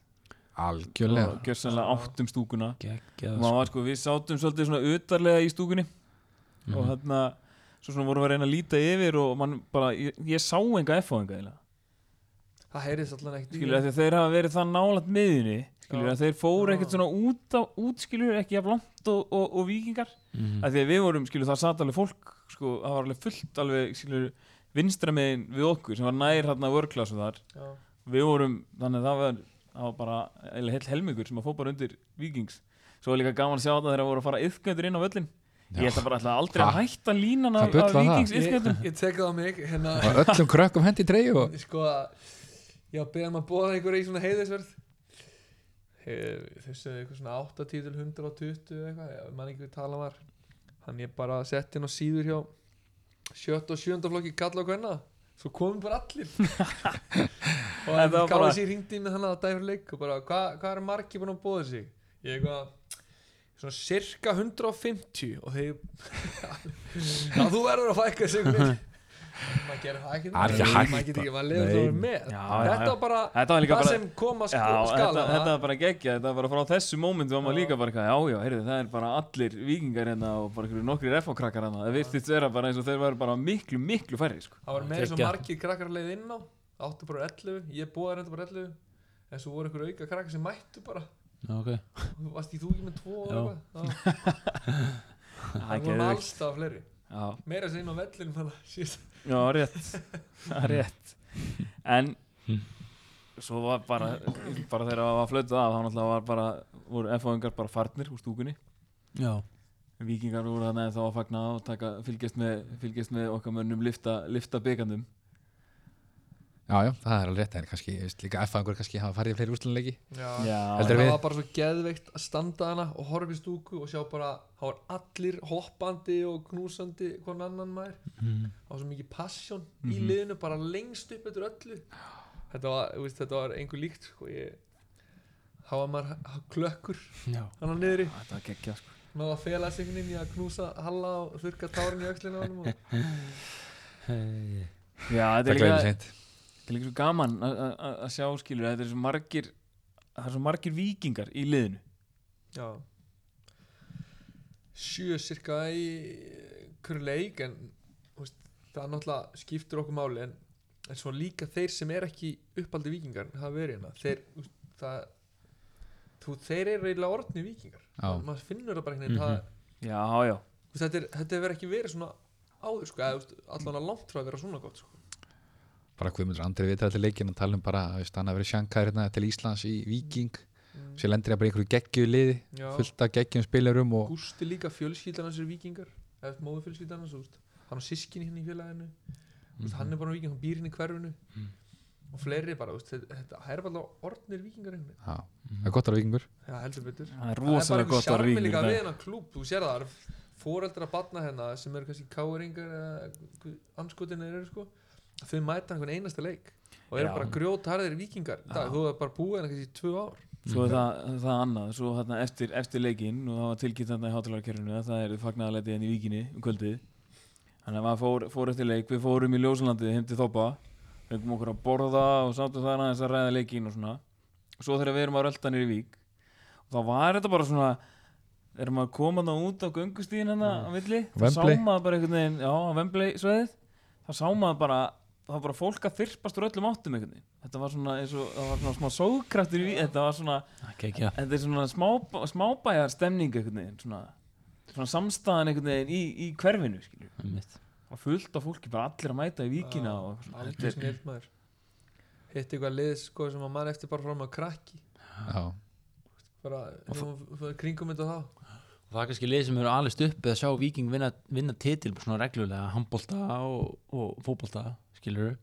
[SPEAKER 5] algjörlega
[SPEAKER 2] Og gjörsanlega áttum stúkuna og
[SPEAKER 3] geggjaðir
[SPEAKER 2] maður var sko, við sátum svolítið svona utarlega í stúkunni
[SPEAKER 4] Mhm.
[SPEAKER 3] Mhm.
[SPEAKER 2] og þarna svo svona vorum við að reyna að líta yfir og mann bara, ég, ég sá enga F-fóðinga eiginlega,
[SPEAKER 4] það heyrðist allan ekkert í
[SPEAKER 2] skilur, af því að þeir hafa verið það nálat miðinni, skilur,
[SPEAKER 4] Já.
[SPEAKER 2] að þeir fóru
[SPEAKER 4] Já.
[SPEAKER 2] ekkert svona út, á, út skilur, ekki jafn langt og, og, og vikingar
[SPEAKER 3] Mhm.
[SPEAKER 4] Mhm.
[SPEAKER 2] af því að við vorum, skilur, það satt alveg fólk sko, það var alveg fullt alveg, skilur vinstra megin við okkur sem var nær hérna vörklasu þar,
[SPEAKER 4] Já.
[SPEAKER 2] við vorum þannig að það var, það var bara eiginlega heil helmingur sem að fó bara undir vikings svo var líka gaman að sjá þetta þegar það voru að fara yfgöndur inn á völlin ég held að bara ætla aldrei að
[SPEAKER 5] Ha?
[SPEAKER 2] hætta línan
[SPEAKER 5] Það
[SPEAKER 2] af,
[SPEAKER 5] bull
[SPEAKER 2] af
[SPEAKER 5] var það.
[SPEAKER 2] vikings
[SPEAKER 4] ég,
[SPEAKER 2] yfgöndum
[SPEAKER 4] ég tek það á mig hérna,
[SPEAKER 5] og öllum krökkum hendi í treyju og
[SPEAKER 4] sko að ég var að beða um að bóða einhverja í svona heiðisverð Hef- þau sögðu eitthvað svona 80 til 120 eða eitthvað, ég man ekki við tala var hann ég bara sett inn á síður hjá sjött og sjönda flokki kalla og hvenna svo komum bara allir og hann
[SPEAKER 2] Þetta var bara-
[SPEAKER 4] káði sér hringdi með hann að dæfur leik og bara hvað hva er margi búin að bóða sig ég eitthvað svona cirka 150 og þeir að þú verður að fækka sig maður gerir það ekki
[SPEAKER 5] Það er ekki hægt,
[SPEAKER 4] maður getur ekki, maður
[SPEAKER 5] Nei.
[SPEAKER 4] lefur það með
[SPEAKER 2] Já,
[SPEAKER 4] þetta
[SPEAKER 2] já.
[SPEAKER 4] var bara
[SPEAKER 2] þetta var líka
[SPEAKER 4] það
[SPEAKER 2] bara
[SPEAKER 4] sem kom
[SPEAKER 2] Já,
[SPEAKER 4] að sko-
[SPEAKER 2] þetta,
[SPEAKER 4] skala
[SPEAKER 2] þetta var bara geggja, þetta var bara frá þessu mómentu var maður
[SPEAKER 4] Já.
[SPEAKER 2] líka bara eitthvað, já já, heyrðu, það er bara allir vikingar hérna og bara einhverju nokkri refokrakkar hérna, það virtist vera bara eins og þeir væru bara miklu, miklu færri, sko.
[SPEAKER 4] það var með þessu
[SPEAKER 3] Geggjað.
[SPEAKER 4] margir krakkar að leið inn á áttu bara 11, ég búið reynda bara 11 en svo voru ykkur auka krakkar sem mættu bara
[SPEAKER 3] ok
[SPEAKER 4] og þú varst í þú ekki með 2
[SPEAKER 3] Já.
[SPEAKER 4] og eitthvað Já, það voru
[SPEAKER 2] geðveikt.
[SPEAKER 4] alltaf fleiri
[SPEAKER 2] Já,
[SPEAKER 4] meira sem inn á vellinum þannig að síðast
[SPEAKER 2] já, rétt, það er rétt, en svo var bara, bara þegar það var flötað af, þá náttúrulega var bara, voru FO-ingar bara farnir úr stúkunni,
[SPEAKER 3] já
[SPEAKER 2] vikingar voru þarna ennþá að fagna og taka, fylgjast með, fylgjast með okkar mönnum lifta, lifta byggandum.
[SPEAKER 5] Já, já, það er alveg rétt, en kannski, ég veist, líka F-fangur kannski hafa farið í fleiri úrslunuleiki.
[SPEAKER 4] Já.
[SPEAKER 5] Heldur-
[SPEAKER 2] Já,
[SPEAKER 5] Þeir
[SPEAKER 4] það
[SPEAKER 5] við-
[SPEAKER 4] var bara svo geðveikt að standa hana og horfa í stúku og sjá bara það var allir hoppandi og knúsandi hvern annan maður það var svo mikið passion í liðinu bara lengst upp eftir öllu þetta var, þú veist, þetta var einhver líkt sko, ég, þá var maður h- h- klökkur
[SPEAKER 3] já
[SPEAKER 4] hann á niðri
[SPEAKER 2] þetta var geggja, sko.
[SPEAKER 4] maður var að fela sig einhvern veginn í að knúsa Halla og þurka tárin í öxlinu á hann og
[SPEAKER 2] Já, þetta
[SPEAKER 5] Það
[SPEAKER 2] er
[SPEAKER 5] glemir
[SPEAKER 2] líka,
[SPEAKER 5] seint.
[SPEAKER 2] Það er líka svo gaman að- að að sjá skilur þetta er svo margir það er svo margir vikingar í liðinu
[SPEAKER 4] já sjö cirka í hverju leik en þú veist, það náttúrulega skiptir okkur máli en, en svo líka þeir sem er ekki uppaldi vikingar hafa verið hérna þeir, þú veist, það, þú, þeir eru eiginlega orðni vikingar
[SPEAKER 5] Já. Mhm.
[SPEAKER 4] maður finnur það bara einhvern veginn mm
[SPEAKER 2] Já, já,
[SPEAKER 4] þetta, er- þetta hefur ekki verið svona áður sko, eða, þú veist, allan að langt frá að vera svona gott sko.
[SPEAKER 5] Bara Guðmundur Andri vitað til leikin og tala um bara, þú veist, hann hafi verið sjankaður hérna til Íslands í Viking,
[SPEAKER 4] Mm.
[SPEAKER 5] sér lendir hann bara í einhverju geggju liði,
[SPEAKER 4] Já.
[SPEAKER 5] fullt af geggjum spilarum og
[SPEAKER 4] Gústi líka fjölskyldan hans er vikingar eða móðu fjölskyldan hans úst. hann á sískinni hérna í félaginu úst, hann er bara viking, hann býr hérna í hverfinu
[SPEAKER 2] Mm.
[SPEAKER 4] og fleiri bara, úst, þetta, þetta það er bara orðnir vikingar einhvern
[SPEAKER 5] já, það er gott að vera vikingur.
[SPEAKER 4] veginn já, heldur betur
[SPEAKER 2] það er
[SPEAKER 4] það er
[SPEAKER 2] rosalega
[SPEAKER 4] bara
[SPEAKER 2] gott að vera
[SPEAKER 4] sjarmi
[SPEAKER 2] vikingur
[SPEAKER 4] líka við
[SPEAKER 2] það.
[SPEAKER 4] hennar klúb, þú sér það, það er fóreldra batna hennar hérna sem eru kannski káringar eða anskotinir eru sko þau mæta einhvern einasta leik og eru
[SPEAKER 2] Já.
[SPEAKER 4] bara grjótarðir vikingar í
[SPEAKER 2] Já.
[SPEAKER 4] dag, þú er bara búið hennar kannski í tvö ár
[SPEAKER 2] Svo er það, það er annað, svo þarna eftir, eftir leikinn og það var tilkynnt þarna í hátalarkerfinu að það er fagnaðarleitið henni í vikinni um kvöldið Þannig að maður fór, fór eftir leik, við fórum í Ljósalandið heim til Þoppa fengum okkur að borða og sátum þar aðeins að ræða leikinn og svona Svo þegar við erum að rölda nýri vík og þá var þetta bara svona erum að koma það út á göngustíðin hérna á milli, þá sá
[SPEAKER 5] Wembley.
[SPEAKER 2] maður bara einhvern veginn, já, á Wembley sveðið þá sá maður bara, þá var bara fólk að þyrpast úr öllum áttum einhvern veginn þetta var svona, eins og, það var svona smá sóðkraftur í vík, þetta var svona,
[SPEAKER 3] geggja
[SPEAKER 2] þetta er svona smá, smábæjar stemning einhvern veginn, svona svona samstæðan einhvern veginn í, í hverfinu skilur,
[SPEAKER 3] einmitt
[SPEAKER 2] og fullt af fólki bara allir að mæta í víkina
[SPEAKER 4] Ah,
[SPEAKER 2] og eitthvað svona,
[SPEAKER 4] algjör
[SPEAKER 2] þetta er-
[SPEAKER 4] snill maður hitt eitthvað lið sko sem að mann eftir bara fram að krakki
[SPEAKER 5] Já,
[SPEAKER 4] bara, ef hún- þú- kringum þetta þá
[SPEAKER 3] það er kannski lið sem eru alist upp eða sjá Viking vinna, vinna titil svona reglulega, handbolta og, og fótbolta, skilur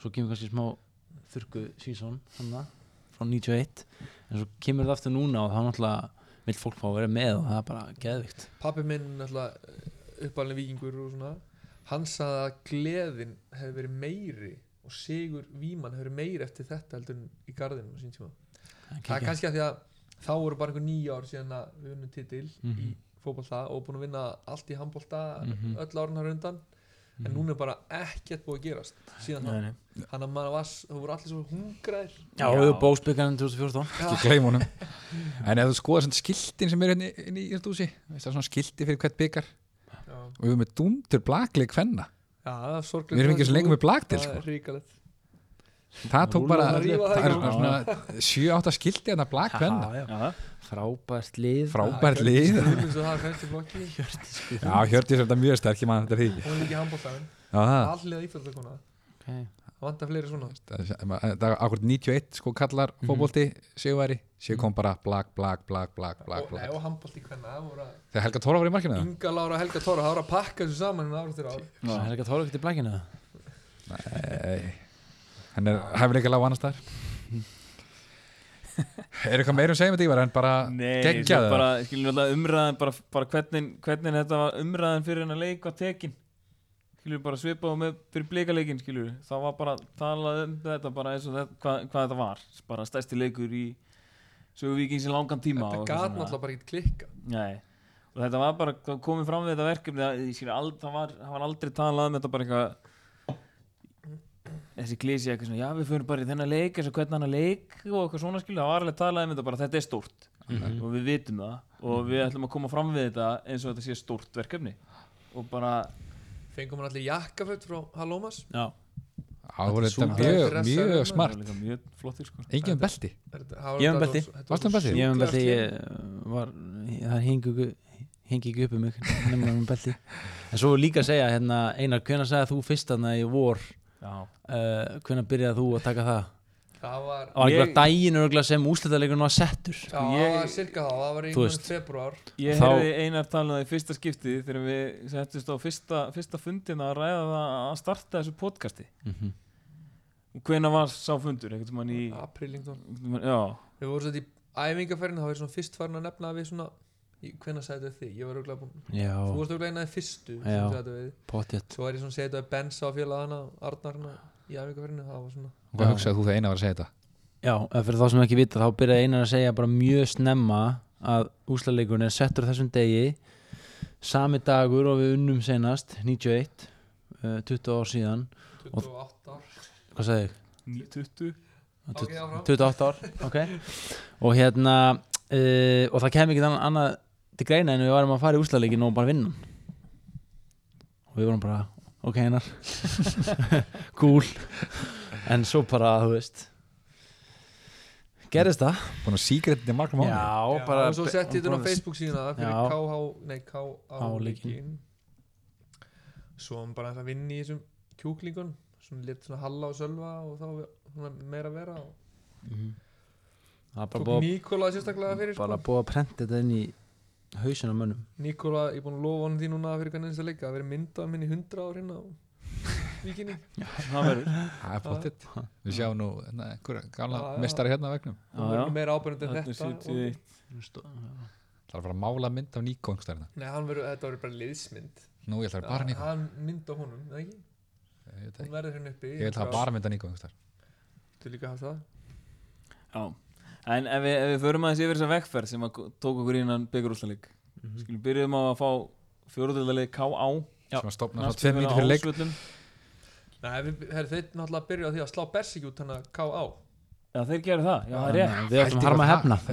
[SPEAKER 3] svo kemur kannski smá þurku sísón hann frá 91 en svo kemur það aftur núna og það er náttúrulega vill fólk fá að vera með og það er bara geðvikt
[SPEAKER 4] pappi minn náttúrulega uppalinn vikingur og svona hann sagði að gleðin hefði verið meiri og sigur vímann hefði verið meiri eftir þetta heldur en í garðinum á sín tíma það er kannski að því að þá voru bara einhver nýja ár síðan að við vinnum titil í
[SPEAKER 2] Mhm.
[SPEAKER 4] fótbolta og búin að vinna allt í handbolta
[SPEAKER 3] Mhm.
[SPEAKER 4] öll árun þar undan en
[SPEAKER 2] Mhm.
[SPEAKER 4] núna er bara ekkert búið að gerast síðan þá,
[SPEAKER 3] Nei, nei.
[SPEAKER 4] hann að maður var það voru allir svo hungraðir
[SPEAKER 3] Já, við erum bósbyggarinn 2014
[SPEAKER 5] ekki gleym honum en ef þú skoðar svona skiltin sem eru hérna í- inn í þessu húsi veist það er svona skilti fyrir hvert byggar
[SPEAKER 4] já,
[SPEAKER 5] og við erum með dúmtur blakli kvenna
[SPEAKER 4] já það er sorglega
[SPEAKER 5] við erum ekki svo lengur með blakdil
[SPEAKER 4] það
[SPEAKER 5] sko.
[SPEAKER 4] er ríkalegt
[SPEAKER 5] það tók bara
[SPEAKER 4] Rúlla það rífa það
[SPEAKER 5] það er
[SPEAKER 4] í gang.
[SPEAKER 5] svona 7-8 skilti hérna blak kvenna
[SPEAKER 3] Já, já. Frábært lið
[SPEAKER 5] frábært lið
[SPEAKER 4] það er fæstu flokki
[SPEAKER 5] já Hjördís er þetta mjög sterk ég man þetta er því ekki.
[SPEAKER 4] hún er líka handbóltæðin
[SPEAKER 5] Já, það-
[SPEAKER 4] allir íþjóðsleikona
[SPEAKER 3] okay.
[SPEAKER 4] það vantar fleiri svona
[SPEAKER 5] það er akkur 91 sko kallar fótbolti
[SPEAKER 4] Mhm.
[SPEAKER 5] séuværi séu kom bara blak blak blak blak blak
[SPEAKER 4] og, nei,
[SPEAKER 5] blak
[SPEAKER 4] og handbólti hvenna það voru að
[SPEAKER 5] þegar Helga Tóra var í markinu það
[SPEAKER 4] Inga Lára og Helga Tóra það voru að pakka þessu saman en árið til ár
[SPEAKER 3] Það er ekki að tóra ekkert í blækinu
[SPEAKER 5] Nei, Eh, hann er hæfileika lág annars þar Er eitthvað meira um segjum þetta Ívar en bara
[SPEAKER 2] Nei,
[SPEAKER 5] geggja
[SPEAKER 2] svo
[SPEAKER 5] það?
[SPEAKER 2] bara, skilur alltaf umræðan bara, bara hvernig, hvernig þetta var umræðan fyrir hennar leik var tekin skilur bara svipað og með fyrir blikaleikin skilur það var bara talað um þetta bara eins og þetta, hvað, hvað þetta var bara stærsti leikur í söguvíkings í langan tíma og
[SPEAKER 4] þetta
[SPEAKER 2] eitthvað
[SPEAKER 4] gat
[SPEAKER 2] svona.
[SPEAKER 4] náttúrulega bara ekki klikka
[SPEAKER 2] Nei, og þetta var bara það komið fram við þetta verkefni það, ég skil, al, það, var, það var aldrei talað um þetta bara eitthvað þessi klísi eitthvað svona, já við fyrir bara í þennan leik eins og hvernig hann að leik og eitthvað svona skil það var alveg talað um þetta bara, þetta er stórt og við vitum það og við ætlum að koma fram við þetta eins og þetta sé stórt verkefni og bara,
[SPEAKER 4] fengum hann allir jakkaföt frá Hallómas
[SPEAKER 3] Já,
[SPEAKER 5] Á, Það voru þetta
[SPEAKER 4] Súpa.
[SPEAKER 5] mjög,
[SPEAKER 4] Dressaður
[SPEAKER 5] mjög
[SPEAKER 4] maður.
[SPEAKER 2] það var
[SPEAKER 5] smart
[SPEAKER 2] líka mjög flottir sko
[SPEAKER 5] Engin um belti
[SPEAKER 4] ég
[SPEAKER 3] Ég er með belti.
[SPEAKER 5] Varstu með belti?
[SPEAKER 3] ég hef um belti ég var, það hengi, hengi ekki upp um mig nema um belti en svo líka að segja, hérna, Einar, hvenær sagði þú fyrst þarna í vor
[SPEAKER 2] Já,
[SPEAKER 3] uh, hvenær byrjaði þú að taka það
[SPEAKER 4] það var
[SPEAKER 3] á einhverja
[SPEAKER 2] Ég-
[SPEAKER 3] daginn örgulega sem úslitaðleikurinn var settur
[SPEAKER 4] já, það var
[SPEAKER 2] ég-
[SPEAKER 4] cirka þá það var
[SPEAKER 3] Þú
[SPEAKER 4] einhvern
[SPEAKER 3] veist.
[SPEAKER 4] februar
[SPEAKER 2] ég
[SPEAKER 3] Þá-
[SPEAKER 2] heyrði einar talað í fyrsta skipti þegar við settist á fyrsta, fyrsta fundina að ræða það að starta þessu podcasti
[SPEAKER 3] mm -hmm.
[SPEAKER 2] hvena var sá fundur, einhvern tímann í
[SPEAKER 4] aprílingdón
[SPEAKER 2] já,
[SPEAKER 4] við vorum svolítið í æfingaferðin þá er svona fyrst farin að nefna að við svona hvenna sagði þetta þig ég var auðvitað búin
[SPEAKER 3] já,
[SPEAKER 4] þú varst auðvitað einað fyrstu sem
[SPEAKER 3] Já.
[SPEAKER 4] sagði þetta við
[SPEAKER 3] potjett
[SPEAKER 4] svo var ég svona að segja þetta við Bensa á félagana Arnarna í æfingaferðinu það var svona
[SPEAKER 5] Og hvað hugsaði þú þegar eina var að segja þetta?
[SPEAKER 3] já, en fyrir þá sem ekki vita, þá byrjaði Einar að segja bara mjög snemma að úslitaðleikurinn er settur á þessum degi sami dagur og við unnum senast 91, uh, 20 ár síðan
[SPEAKER 4] 28 ár
[SPEAKER 3] hvað sagði ég?
[SPEAKER 2] 20
[SPEAKER 4] Ok, áfram.
[SPEAKER 3] 28 ár ok og hérna uh, og það kem ekki annað, annað til greina en við varum að fara í úslaðleikin og bara vinna hann. og við vorum bara ok hennar cool en svo bara þú veist gerist það
[SPEAKER 5] Búin að síkretinni margum
[SPEAKER 3] já,
[SPEAKER 5] mánu
[SPEAKER 3] bara
[SPEAKER 4] og svo setti ég þetta á Facebook síðan fyrir
[SPEAKER 3] Já.
[SPEAKER 4] KH, nei KH
[SPEAKER 3] leikinn.
[SPEAKER 4] leikinn svo hann bara aðeins að vinna í þessum kjúklingun svona létt svona Halla og Sölva og þá svona meira að vera og
[SPEAKER 3] Mhm. það er bara
[SPEAKER 4] tók
[SPEAKER 3] búið
[SPEAKER 4] Nikola sérstaklega fyrir
[SPEAKER 3] að- bara
[SPEAKER 4] sko.
[SPEAKER 3] búið að prenta þetta inn í hausina mönnum
[SPEAKER 4] Nikola, ég er búin að lofa hann því núna fyrir hvernig þess að leika að vera myndað minn í 100 ár hérna á vikinni
[SPEAKER 2] það verður
[SPEAKER 5] Það er flottitt Við sjáum nú hérna, einhverja gamla
[SPEAKER 4] Já, já.
[SPEAKER 5] mestari hérna á vegnum
[SPEAKER 2] Já,
[SPEAKER 4] og
[SPEAKER 2] já.
[SPEAKER 4] verður meira ábyrjandi en
[SPEAKER 2] Þetta er
[SPEAKER 4] þetta og,
[SPEAKER 2] 71.
[SPEAKER 5] Það er bara að mála mynd af Nikon einhvers staðar hérna.
[SPEAKER 4] nei, hann verður, þetta verður bara liðsmynd
[SPEAKER 5] Nú ég ætla að vera bara Nikon
[SPEAKER 4] hann mynd á honum, eða ekki?
[SPEAKER 5] Ég veit
[SPEAKER 4] hún
[SPEAKER 5] það ekki.
[SPEAKER 4] verður hérna uppi
[SPEAKER 5] Ég ætla að bara mynda Nikon einhvers staðar.
[SPEAKER 4] Þú líka haft það?
[SPEAKER 2] Já, en ef við, ef við förum aðeins yfir þessa vegferð sem að ko- tók okkur innan byggurústalík mm -hmm. Skilum byrjuðum á að fá fjóruðildalík K.A.
[SPEAKER 3] Já.
[SPEAKER 5] Sem að stofna svo tveim mínútur fyrir leik
[SPEAKER 2] leik
[SPEAKER 4] Nei, við, her, þeir náttúrulega byrjuðu á því að slá Bersik út hérna, hann að K.A.
[SPEAKER 2] Já, þeir gerðu það, já, það er rétt
[SPEAKER 3] við ætlum
[SPEAKER 5] Pældi
[SPEAKER 3] harma að
[SPEAKER 5] hvað
[SPEAKER 3] hefna
[SPEAKER 2] Heldur ekki að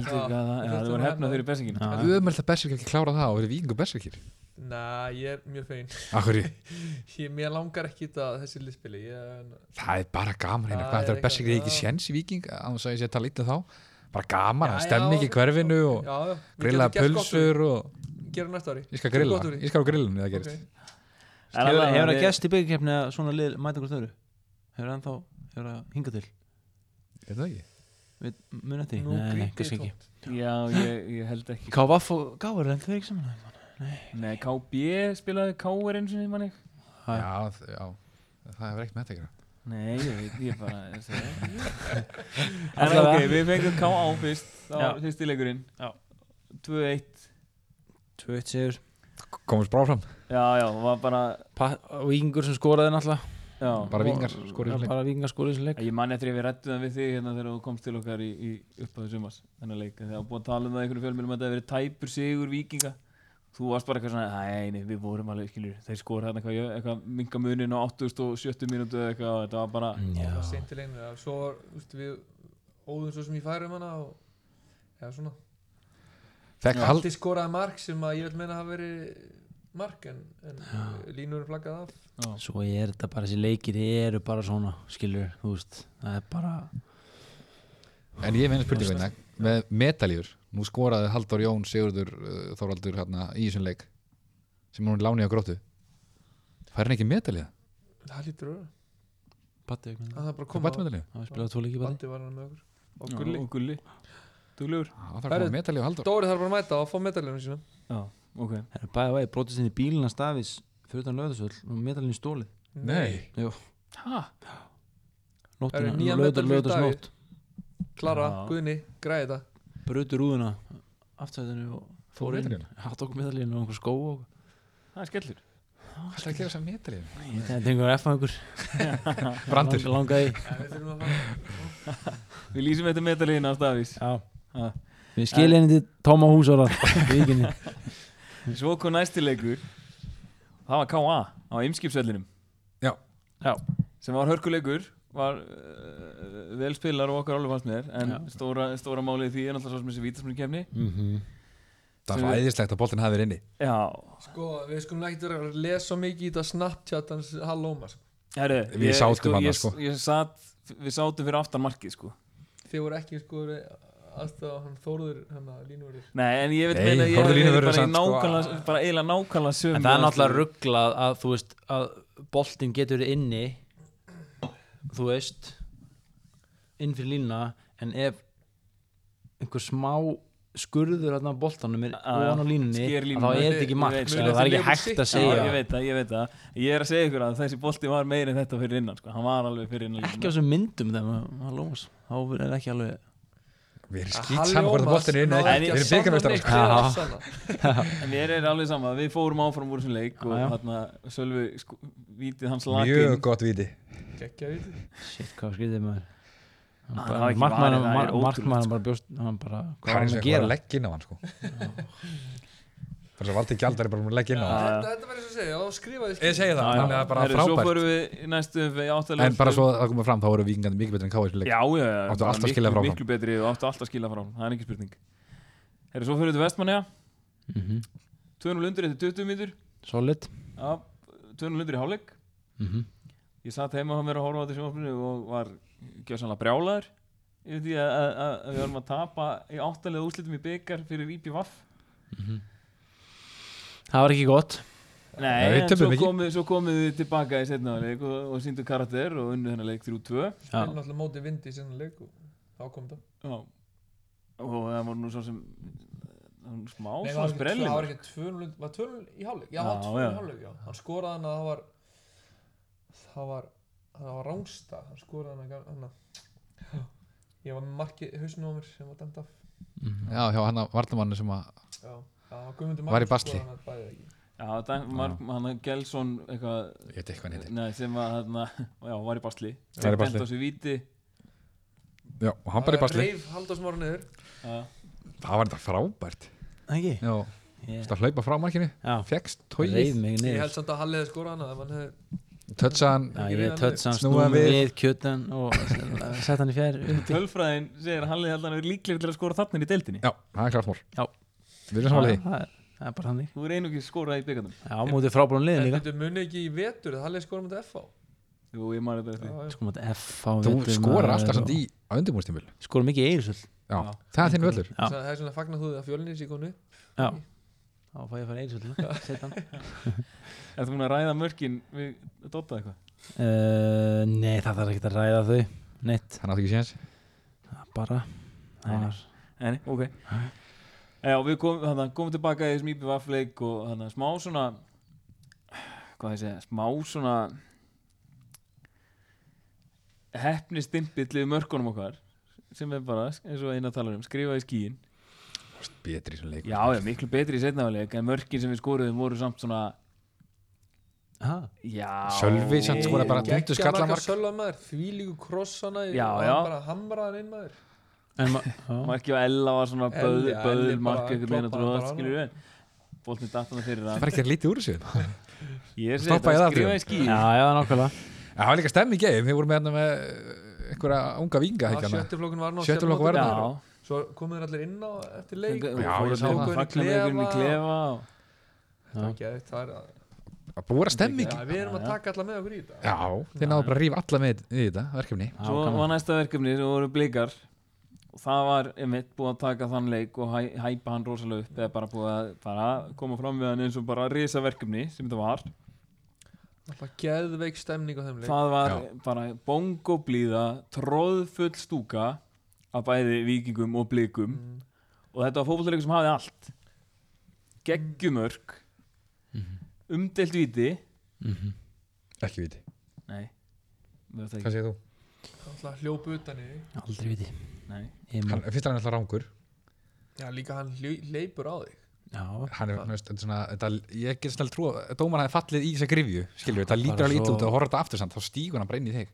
[SPEAKER 2] það- Já,
[SPEAKER 4] Við
[SPEAKER 2] það
[SPEAKER 4] ætlum
[SPEAKER 2] voru
[SPEAKER 4] að
[SPEAKER 2] hefna
[SPEAKER 4] hefna
[SPEAKER 2] fyrir Bersingin
[SPEAKER 3] Já.
[SPEAKER 5] Öðmöld að Berserkir ekki klára það og verið vikingu Berserkir
[SPEAKER 4] Nei, ég er mjög fegin
[SPEAKER 5] Akkur,
[SPEAKER 4] ég, Mér langar ekki þetta þessi liðspili ég,
[SPEAKER 5] Það er bara gaman hérna,
[SPEAKER 4] Það
[SPEAKER 5] hvað
[SPEAKER 4] er
[SPEAKER 5] þetta er
[SPEAKER 4] eitthvað-
[SPEAKER 5] best ekki ekki
[SPEAKER 4] já.
[SPEAKER 5] séns í Viking, á þess að ég sé að tala lítið þá bara gaman,
[SPEAKER 4] Já,
[SPEAKER 5] það stemmi ekki
[SPEAKER 4] já,
[SPEAKER 5] í hverfinu og
[SPEAKER 4] Já, já
[SPEAKER 5] grilla pulsur og
[SPEAKER 4] Gerum næsta ári
[SPEAKER 5] ég skal grilla,
[SPEAKER 4] Gott úr því.
[SPEAKER 5] ég skal á grillinu þegar það gerist
[SPEAKER 2] En
[SPEAKER 4] Ok.
[SPEAKER 3] hefur
[SPEAKER 2] allavega,
[SPEAKER 3] hefur það
[SPEAKER 2] við-
[SPEAKER 3] gæst í byggjarkefni að svona lið mæta hvort öðru hefur það ennþá hefur það hingað til
[SPEAKER 5] er það ekki?
[SPEAKER 3] við munum eftir því?
[SPEAKER 4] Nú
[SPEAKER 3] nei, nei,
[SPEAKER 4] gríp
[SPEAKER 3] kannski
[SPEAKER 4] ég
[SPEAKER 3] ekki
[SPEAKER 4] tómt
[SPEAKER 2] Já, ég, ég held ekki
[SPEAKER 3] K.V.F. og K.V.R. er það ekki saman
[SPEAKER 2] Nei, KB spilaði KR eins og manni
[SPEAKER 3] Já.
[SPEAKER 5] Já, þ- já, það hefur ekkert með þetta að gera
[SPEAKER 2] Nei, ég veit, ég bara ég segi það. En
[SPEAKER 3] Allavega.
[SPEAKER 2] ok, við fengum KA fyrst Þá
[SPEAKER 3] Já.
[SPEAKER 2] fyrsti leikurinn
[SPEAKER 3] Já.
[SPEAKER 2] 2-1
[SPEAKER 3] 2-1 sigur
[SPEAKER 5] Komumst bara áfram,
[SPEAKER 2] Já, já, var bara
[SPEAKER 3] Víkingur sem skoraði náttúrulega
[SPEAKER 2] Já,
[SPEAKER 5] bara vingar
[SPEAKER 3] Já,
[SPEAKER 5] skorið leik
[SPEAKER 3] bara Víkingar skoraði þessu leik
[SPEAKER 2] Ég man eftir að við rættum það við þig hérna þegar þú komst til okkar í, í upphæðu sumars þennan leik, þegar það var búið að tala um það í einhverju fjölmjölum að það hefði verið tæpur sigur vikinga þú varst bara eitthvað svona, nei, nei, við vorum alveg skilur, þeir skora hérna eitthvað, jö- eitthvað minga munin á 870 mínútu eða eitthvað og þetta var bara,
[SPEAKER 4] Það var
[SPEAKER 3] Já,
[SPEAKER 4] seint í leginu eða Svo var, úst, við óðum svo sem ég færi um hana og, Eða svona
[SPEAKER 5] Fekk hald,
[SPEAKER 4] Haldi skoraði mark sem að ég vil meina að hafa verið mark En, en línurinn flaggað af
[SPEAKER 3] svo er þetta bara þessi leikir eru bara svona, skilur, þú veist það er bara,
[SPEAKER 5] en ég meina spurningu hérna með metalífur, nú skoraði Halldór Jón Sigurður uh, Þorvaldur hérna í þessum leik sem hún láni á gróttu fær hann ekki metalíða,
[SPEAKER 4] Það lítur að vera.
[SPEAKER 3] batti ekki
[SPEAKER 5] Mm.
[SPEAKER 4] Að Það er bara að
[SPEAKER 5] hvað
[SPEAKER 4] koma
[SPEAKER 5] bætti metalíða?
[SPEAKER 3] það spilaði tvo leiki batti
[SPEAKER 4] Bandi var hann með okkur Og gulli
[SPEAKER 2] og gulli duglegur,
[SPEAKER 5] Það þarf að
[SPEAKER 4] Herru,
[SPEAKER 5] koma metalíða á Halldór
[SPEAKER 4] Dóri þarf bara að mæta og fá medaljónu sína
[SPEAKER 2] já, ok
[SPEAKER 3] Það er bæðið vegi, brotist inn í bílina stafis fyrir utan löðarsvöld og medalinn í stólið
[SPEAKER 5] Nei,
[SPEAKER 4] Það
[SPEAKER 3] nóttina,
[SPEAKER 4] eru nýjar
[SPEAKER 3] löðar,
[SPEAKER 4] medalíur í
[SPEAKER 3] löðars
[SPEAKER 4] Davíð.
[SPEAKER 3] nótt
[SPEAKER 4] Klara,
[SPEAKER 2] Já.
[SPEAKER 4] Guðni, græði þetta
[SPEAKER 3] brutu rúðuna aftæðinu og fór inn
[SPEAKER 5] medalíuna?
[SPEAKER 3] hann tók medalinn og einhver skó og
[SPEAKER 2] það er skellur
[SPEAKER 5] hvað er að gera þess að metalíða?
[SPEAKER 3] þetta er einhver F einhver
[SPEAKER 5] Brandur,
[SPEAKER 3] Lang- langaði
[SPEAKER 4] Ja, við þurfum að fara
[SPEAKER 2] við lýsum þetta metaliðin á stafís
[SPEAKER 3] já við skilja henni til Tóma Húsóra vikinni
[SPEAKER 2] svo kom næsti leikur það var KA á ymskipsvellinum
[SPEAKER 5] Já.
[SPEAKER 3] Já.
[SPEAKER 2] sem var hörkuleikur var uh, vel spilar og okkar alveg fannst með þér en
[SPEAKER 3] Já.
[SPEAKER 2] stóra, stóra málið í því er náttúrulega svo sem þessi vítasmunni kemni
[SPEAKER 5] Mhm. það var æðislegt að boltin hafi verið inni
[SPEAKER 2] já,
[SPEAKER 4] Sko, við skulum ekki vera að lesa mikið í þetta Snapchat hans Hallóma sko.
[SPEAKER 2] herru
[SPEAKER 5] Við
[SPEAKER 2] ég-
[SPEAKER 5] sátum
[SPEAKER 2] sko,
[SPEAKER 5] þarna,
[SPEAKER 2] ég,
[SPEAKER 5] sko.
[SPEAKER 2] ég sat, við sátum fyrir aftan markið sko
[SPEAKER 4] Þið voru ekki sko aðstafa hann Þórður hann að línurður
[SPEAKER 2] Nei, en ég vil
[SPEAKER 5] Nei,
[SPEAKER 2] meina að ég hef
[SPEAKER 5] Þórður Línu
[SPEAKER 2] verið
[SPEAKER 5] verður
[SPEAKER 2] bara, í
[SPEAKER 5] samt, sko,
[SPEAKER 2] nákvæmlega,
[SPEAKER 5] að-
[SPEAKER 2] bara eiginlega nákvæmlega sömu
[SPEAKER 3] en það er náttúrulega rugglað að þú veist að boltinn getur verið inni þú veist inn fyrir línuna en ef einhver smá skurður að boltanum er
[SPEAKER 2] Já, já.
[SPEAKER 3] ofan á línunni
[SPEAKER 2] Sker
[SPEAKER 3] að
[SPEAKER 2] línuna.
[SPEAKER 3] þá er þetta
[SPEAKER 4] Ég-
[SPEAKER 3] ekki
[SPEAKER 4] ég
[SPEAKER 3] mark
[SPEAKER 2] veit,
[SPEAKER 3] skilur,
[SPEAKER 4] muna
[SPEAKER 3] það er ekki
[SPEAKER 4] eftir Liverpool
[SPEAKER 3] hægt að
[SPEAKER 4] City.
[SPEAKER 2] Já,
[SPEAKER 3] segja
[SPEAKER 2] ég veit það, ég veit það Ég er að segja ykkur að þessi bolti var meiri en þetta fyrir innan sko. Hann var alveg fyrir innan
[SPEAKER 3] ekki á þessum myndum þegar maður lómas þá er það ekki alveg
[SPEAKER 5] Við erum skýt saman hvort að boltin er inni eða
[SPEAKER 2] náði
[SPEAKER 5] ekki.
[SPEAKER 2] ekki
[SPEAKER 5] Við erum byggarmestara sko.
[SPEAKER 2] En mér er alveg sama, við fórum áfram úr þessum leik og
[SPEAKER 3] Já, já.
[SPEAKER 2] hérna Sölvi sko, vítið hans
[SPEAKER 5] Mjög
[SPEAKER 2] lakin
[SPEAKER 5] gott viti
[SPEAKER 4] Gekkja við
[SPEAKER 3] shit hvað skrítið maður Hann
[SPEAKER 2] Ah,
[SPEAKER 3] bara-
[SPEAKER 2] það var ekki varið,
[SPEAKER 3] markmaðurinn-
[SPEAKER 2] það er
[SPEAKER 3] mar-
[SPEAKER 2] ótrúlegt,
[SPEAKER 3] markmaðurinn bara bjóst hann bara hvað
[SPEAKER 5] Hvað
[SPEAKER 3] var
[SPEAKER 5] er
[SPEAKER 3] hann
[SPEAKER 5] sem
[SPEAKER 3] að
[SPEAKER 5] að vera
[SPEAKER 3] gera
[SPEAKER 5] að leggja inn á hann sko Það er svo valdið gjaldar er bara búin að leggja inn á hann
[SPEAKER 2] Já, já.
[SPEAKER 4] Þetta þetta var eins og segja, og skrifaði
[SPEAKER 5] Ég segi það, þannig að bara
[SPEAKER 2] Svo
[SPEAKER 5] frábært
[SPEAKER 2] fórum við í næstu umferð í áttalega
[SPEAKER 5] En bara svo að það komið fram þá eru vikingandi mikið betur en káir
[SPEAKER 2] Já, já, já
[SPEAKER 5] Áttu
[SPEAKER 2] bara
[SPEAKER 5] allt að
[SPEAKER 2] miklu-
[SPEAKER 5] skila frá
[SPEAKER 2] Miklu betri og áttu alltaf að skila frá Það er ekki spurning Herri, svo fyrir við til Vestmanniða
[SPEAKER 3] Mhm.
[SPEAKER 2] 200 undir eftir 20 mínútur
[SPEAKER 3] solid
[SPEAKER 2] Já, 200 undir í hálfleik
[SPEAKER 3] Mhm.
[SPEAKER 2] Ég satt heima á mér að horfa á þetta sjónvarpinu og var gjössanlega brjálaður yfir því að, að, að, að við varum að tapa í áttalega úslitum í byggar fyrir IPVAF
[SPEAKER 3] Mhm. það var ekki gott
[SPEAKER 2] Nei,
[SPEAKER 5] Nei, við
[SPEAKER 2] en svo
[SPEAKER 5] töpuðum ekki.
[SPEAKER 2] komið, svo komið þið tilbaka í setna leik og, og síndu karakter og unnu þennan leik 3-2
[SPEAKER 3] Já.
[SPEAKER 4] Spilum alltaf móti vindi í sinna leik og þá kom það
[SPEAKER 2] Já. og það voru nú svo sem það var nú smá
[SPEAKER 4] Nei,
[SPEAKER 2] svona
[SPEAKER 4] það
[SPEAKER 2] sprelli
[SPEAKER 4] var ekki 200, var 200 í hálfleik? Já, það var
[SPEAKER 2] Já, já.
[SPEAKER 4] 200 í hálfleik, já Hann skoraði hann að það var það var, það var rángsta hann skoraði hann að gaf- hann að ég var með markið hausnum á mér sem var dæmt af
[SPEAKER 3] Mhm.
[SPEAKER 5] Já, hjá hann að varnamannu sem að
[SPEAKER 4] Já, það var Guðmundur
[SPEAKER 5] Var í
[SPEAKER 4] Magnús
[SPEAKER 5] basli.
[SPEAKER 4] skoraði hann að bæði ekki.
[SPEAKER 2] Já, þetta er mar- hann að Gelsson eitthvað
[SPEAKER 5] Ég veit ekki hvað hann heitir
[SPEAKER 2] nei, sem var, þarna, já, var í basli
[SPEAKER 5] Var í basli.
[SPEAKER 2] Bent á sig víti
[SPEAKER 5] Já, og hann bara í basli
[SPEAKER 4] reif Halldórsmára niður
[SPEAKER 2] Já.
[SPEAKER 5] Það var þetta frábært
[SPEAKER 3] ekki
[SPEAKER 5] Já,
[SPEAKER 3] Ég-
[SPEAKER 5] það hlaupa frá markinu
[SPEAKER 3] já
[SPEAKER 5] Fekst
[SPEAKER 3] reyð
[SPEAKER 5] tóið
[SPEAKER 3] mig
[SPEAKER 4] Ég
[SPEAKER 3] niður
[SPEAKER 4] held samt að Halli hefði skorað hana ef hann hefði
[SPEAKER 5] Tötsaðan
[SPEAKER 3] Já,
[SPEAKER 4] Ekki
[SPEAKER 3] ég
[SPEAKER 4] riða
[SPEAKER 3] tött samt
[SPEAKER 5] Snúa
[SPEAKER 3] snúið
[SPEAKER 5] við.
[SPEAKER 3] við kjötan og sett hann í fjær úti.
[SPEAKER 2] Tölfræðin segir að Halli held að hann er líklegri til að skora þarna í deildinni
[SPEAKER 5] Já, það er klart mór
[SPEAKER 3] Já.
[SPEAKER 5] Við erum
[SPEAKER 3] Það
[SPEAKER 5] samanlega því
[SPEAKER 3] er það er bara hann
[SPEAKER 2] Þú er einungis skorað í byggandum
[SPEAKER 3] Já, mútið frábærum liðin
[SPEAKER 4] En
[SPEAKER 3] líka
[SPEAKER 4] þetta muni ekki í vetur að Halli skoraði mútið FH
[SPEAKER 2] Jú, ég maður þetta eftir
[SPEAKER 4] Já, já.
[SPEAKER 3] Sko mútið F á
[SPEAKER 5] Þú skorar alltaf samt í á undirbúrstímul
[SPEAKER 3] Skorum mikið eiginsöld
[SPEAKER 5] Já, það er þinn völlur
[SPEAKER 3] Já.
[SPEAKER 4] Það er svona fagnar þú því að fjölnir sé konu
[SPEAKER 3] Já Þá fæ ég að fara eiginsöld Sett hann
[SPEAKER 2] Er þú múin að ræða mörkin við Dotta eitthvað?
[SPEAKER 3] Eh, Uh, Nei, það þarf ekki að ræða þau Neitt
[SPEAKER 5] Hann átti ekki séns
[SPEAKER 3] bara
[SPEAKER 2] Nei,
[SPEAKER 3] það
[SPEAKER 2] nei.
[SPEAKER 3] var
[SPEAKER 2] Nei, nei, ok Já, við komum, hana, komum tilbaka í þessum íbjöfafleik og hana, smá svona hvað það segja, smá svona hefni stimpill við mörkunum okkar sem er bara, eins og eina talar um skrifa í skíin
[SPEAKER 5] betri sem leik
[SPEAKER 2] Já, já, miklu betri í setnafaleg en mörkin sem við skoruðum voru samt svona
[SPEAKER 3] ha,
[SPEAKER 2] Já
[SPEAKER 5] Sölvi samt skoraði bara
[SPEAKER 4] Geggja
[SPEAKER 5] tundu
[SPEAKER 4] margar
[SPEAKER 5] skallamark
[SPEAKER 4] sölva maður, því líku krossana
[SPEAKER 2] Já,
[SPEAKER 4] og
[SPEAKER 2] já.
[SPEAKER 4] bara hamraðan inn maður
[SPEAKER 3] en maður
[SPEAKER 2] Marki og Ella var svona
[SPEAKER 4] Elli-
[SPEAKER 2] böðl,
[SPEAKER 4] Elli
[SPEAKER 2] böðl
[SPEAKER 4] bara
[SPEAKER 2] mark eitthvað meina
[SPEAKER 4] kloppaði
[SPEAKER 2] tróða,
[SPEAKER 4] bara
[SPEAKER 2] skilur við Bóltni dattana fyrir
[SPEAKER 5] Það
[SPEAKER 2] hann
[SPEAKER 5] var ekki að lítið úr þessu Já,
[SPEAKER 2] Ég segi
[SPEAKER 5] Stoppa
[SPEAKER 2] þetta,
[SPEAKER 5] ég það
[SPEAKER 2] skrifa í
[SPEAKER 5] aftur?
[SPEAKER 2] skíin
[SPEAKER 3] já, já, nákvæmlega
[SPEAKER 5] það var líka stemmi í geim, við vorum með hérna með eh, einhverja unga vinga
[SPEAKER 4] Að
[SPEAKER 5] hérna
[SPEAKER 4] Sjöttiflokkun var ná
[SPEAKER 5] Sjötti flokkur var þarna.
[SPEAKER 2] Já,
[SPEAKER 4] Svo komu þeir allir inn á eftir leik
[SPEAKER 2] Fengu-
[SPEAKER 5] Já,
[SPEAKER 2] og fóru
[SPEAKER 5] ég sá
[SPEAKER 2] að
[SPEAKER 4] það.
[SPEAKER 2] fagna með einhverjum í klefa og-
[SPEAKER 4] Það er geðveikt, það er að-
[SPEAKER 5] Það búið að stemmi í
[SPEAKER 4] Já, Við erum að taka alla með okkur í þetta
[SPEAKER 5] Já, þeir náðu bara að rífa alla með í þetta verkefni
[SPEAKER 2] svo var næsta verkefni sem voru blikar og það var einmitt búið að taka þann leik og hæ, hæpa hann rosalega upp eða bara búið að bara koma fram við hann eins og bara risa verkefni sem þetta var
[SPEAKER 4] Alltaf geðveik stemning á þeim leik
[SPEAKER 2] það var
[SPEAKER 5] Já.
[SPEAKER 2] bara bongoblíða tróðfull stúka af bæði vikingum og blikum
[SPEAKER 4] Mm.
[SPEAKER 2] og þetta var fótbollleikur sem hafði allt geggjumörk umdelt viti
[SPEAKER 5] Ekki viti,
[SPEAKER 2] nei, við það
[SPEAKER 5] hvað
[SPEAKER 2] ekki
[SPEAKER 5] segir þú?
[SPEAKER 4] Alltaf hljópu utan í þig.
[SPEAKER 3] aldrei viti
[SPEAKER 2] nei.
[SPEAKER 3] ég
[SPEAKER 5] Hann,
[SPEAKER 3] man,
[SPEAKER 5] fyrst er hann alltaf rángur
[SPEAKER 4] Já, líka hann hljó- hleypur á þig
[SPEAKER 3] já,
[SPEAKER 5] hann er, veist, þetta er svona, þetta, ég get snæll trú að dómar hafi fallið í þessa grifju skilur, þetta lítur
[SPEAKER 3] bara
[SPEAKER 5] alveg ít
[SPEAKER 3] svo-
[SPEAKER 5] út og horfður þetta aftur samt, þá stígur hann bara inn í þig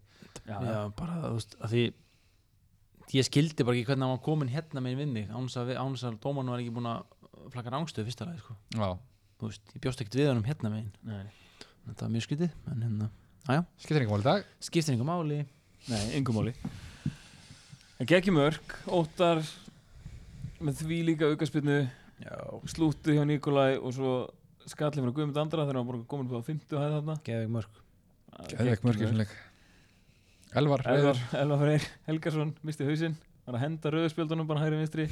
[SPEAKER 2] Já,
[SPEAKER 3] já, bara þú veist að því ég skildi bara ekki hvernig hann var komin hérna meginn við mig án þess að, við- án þess að dóman var ekki búin að flagga rángstöð fyrsta lagi sko.
[SPEAKER 5] Já,
[SPEAKER 3] þú veist, ég bjóst ekkert við hann hérna meginn
[SPEAKER 2] nei.
[SPEAKER 3] þetta var mjög skytið, en hérna
[SPEAKER 5] skiptir einhver mál í dag
[SPEAKER 3] skiptir einhver máli
[SPEAKER 2] Nei, engum máli En geggjum örk, óttar með því líka aukaspinnu
[SPEAKER 3] já,
[SPEAKER 2] slúttu hjá Nikolai og svo skallið frá Guðmund Andra þegar hann var komin upp á 50 hæð þarna
[SPEAKER 3] geðveik mörg
[SPEAKER 5] Geðveik mörg í svona leik Elvar,
[SPEAKER 2] Elvar, Elvar Freyr Helgarsson misti hausinn, var að henda rauðspjöldunum bara hægri vinstri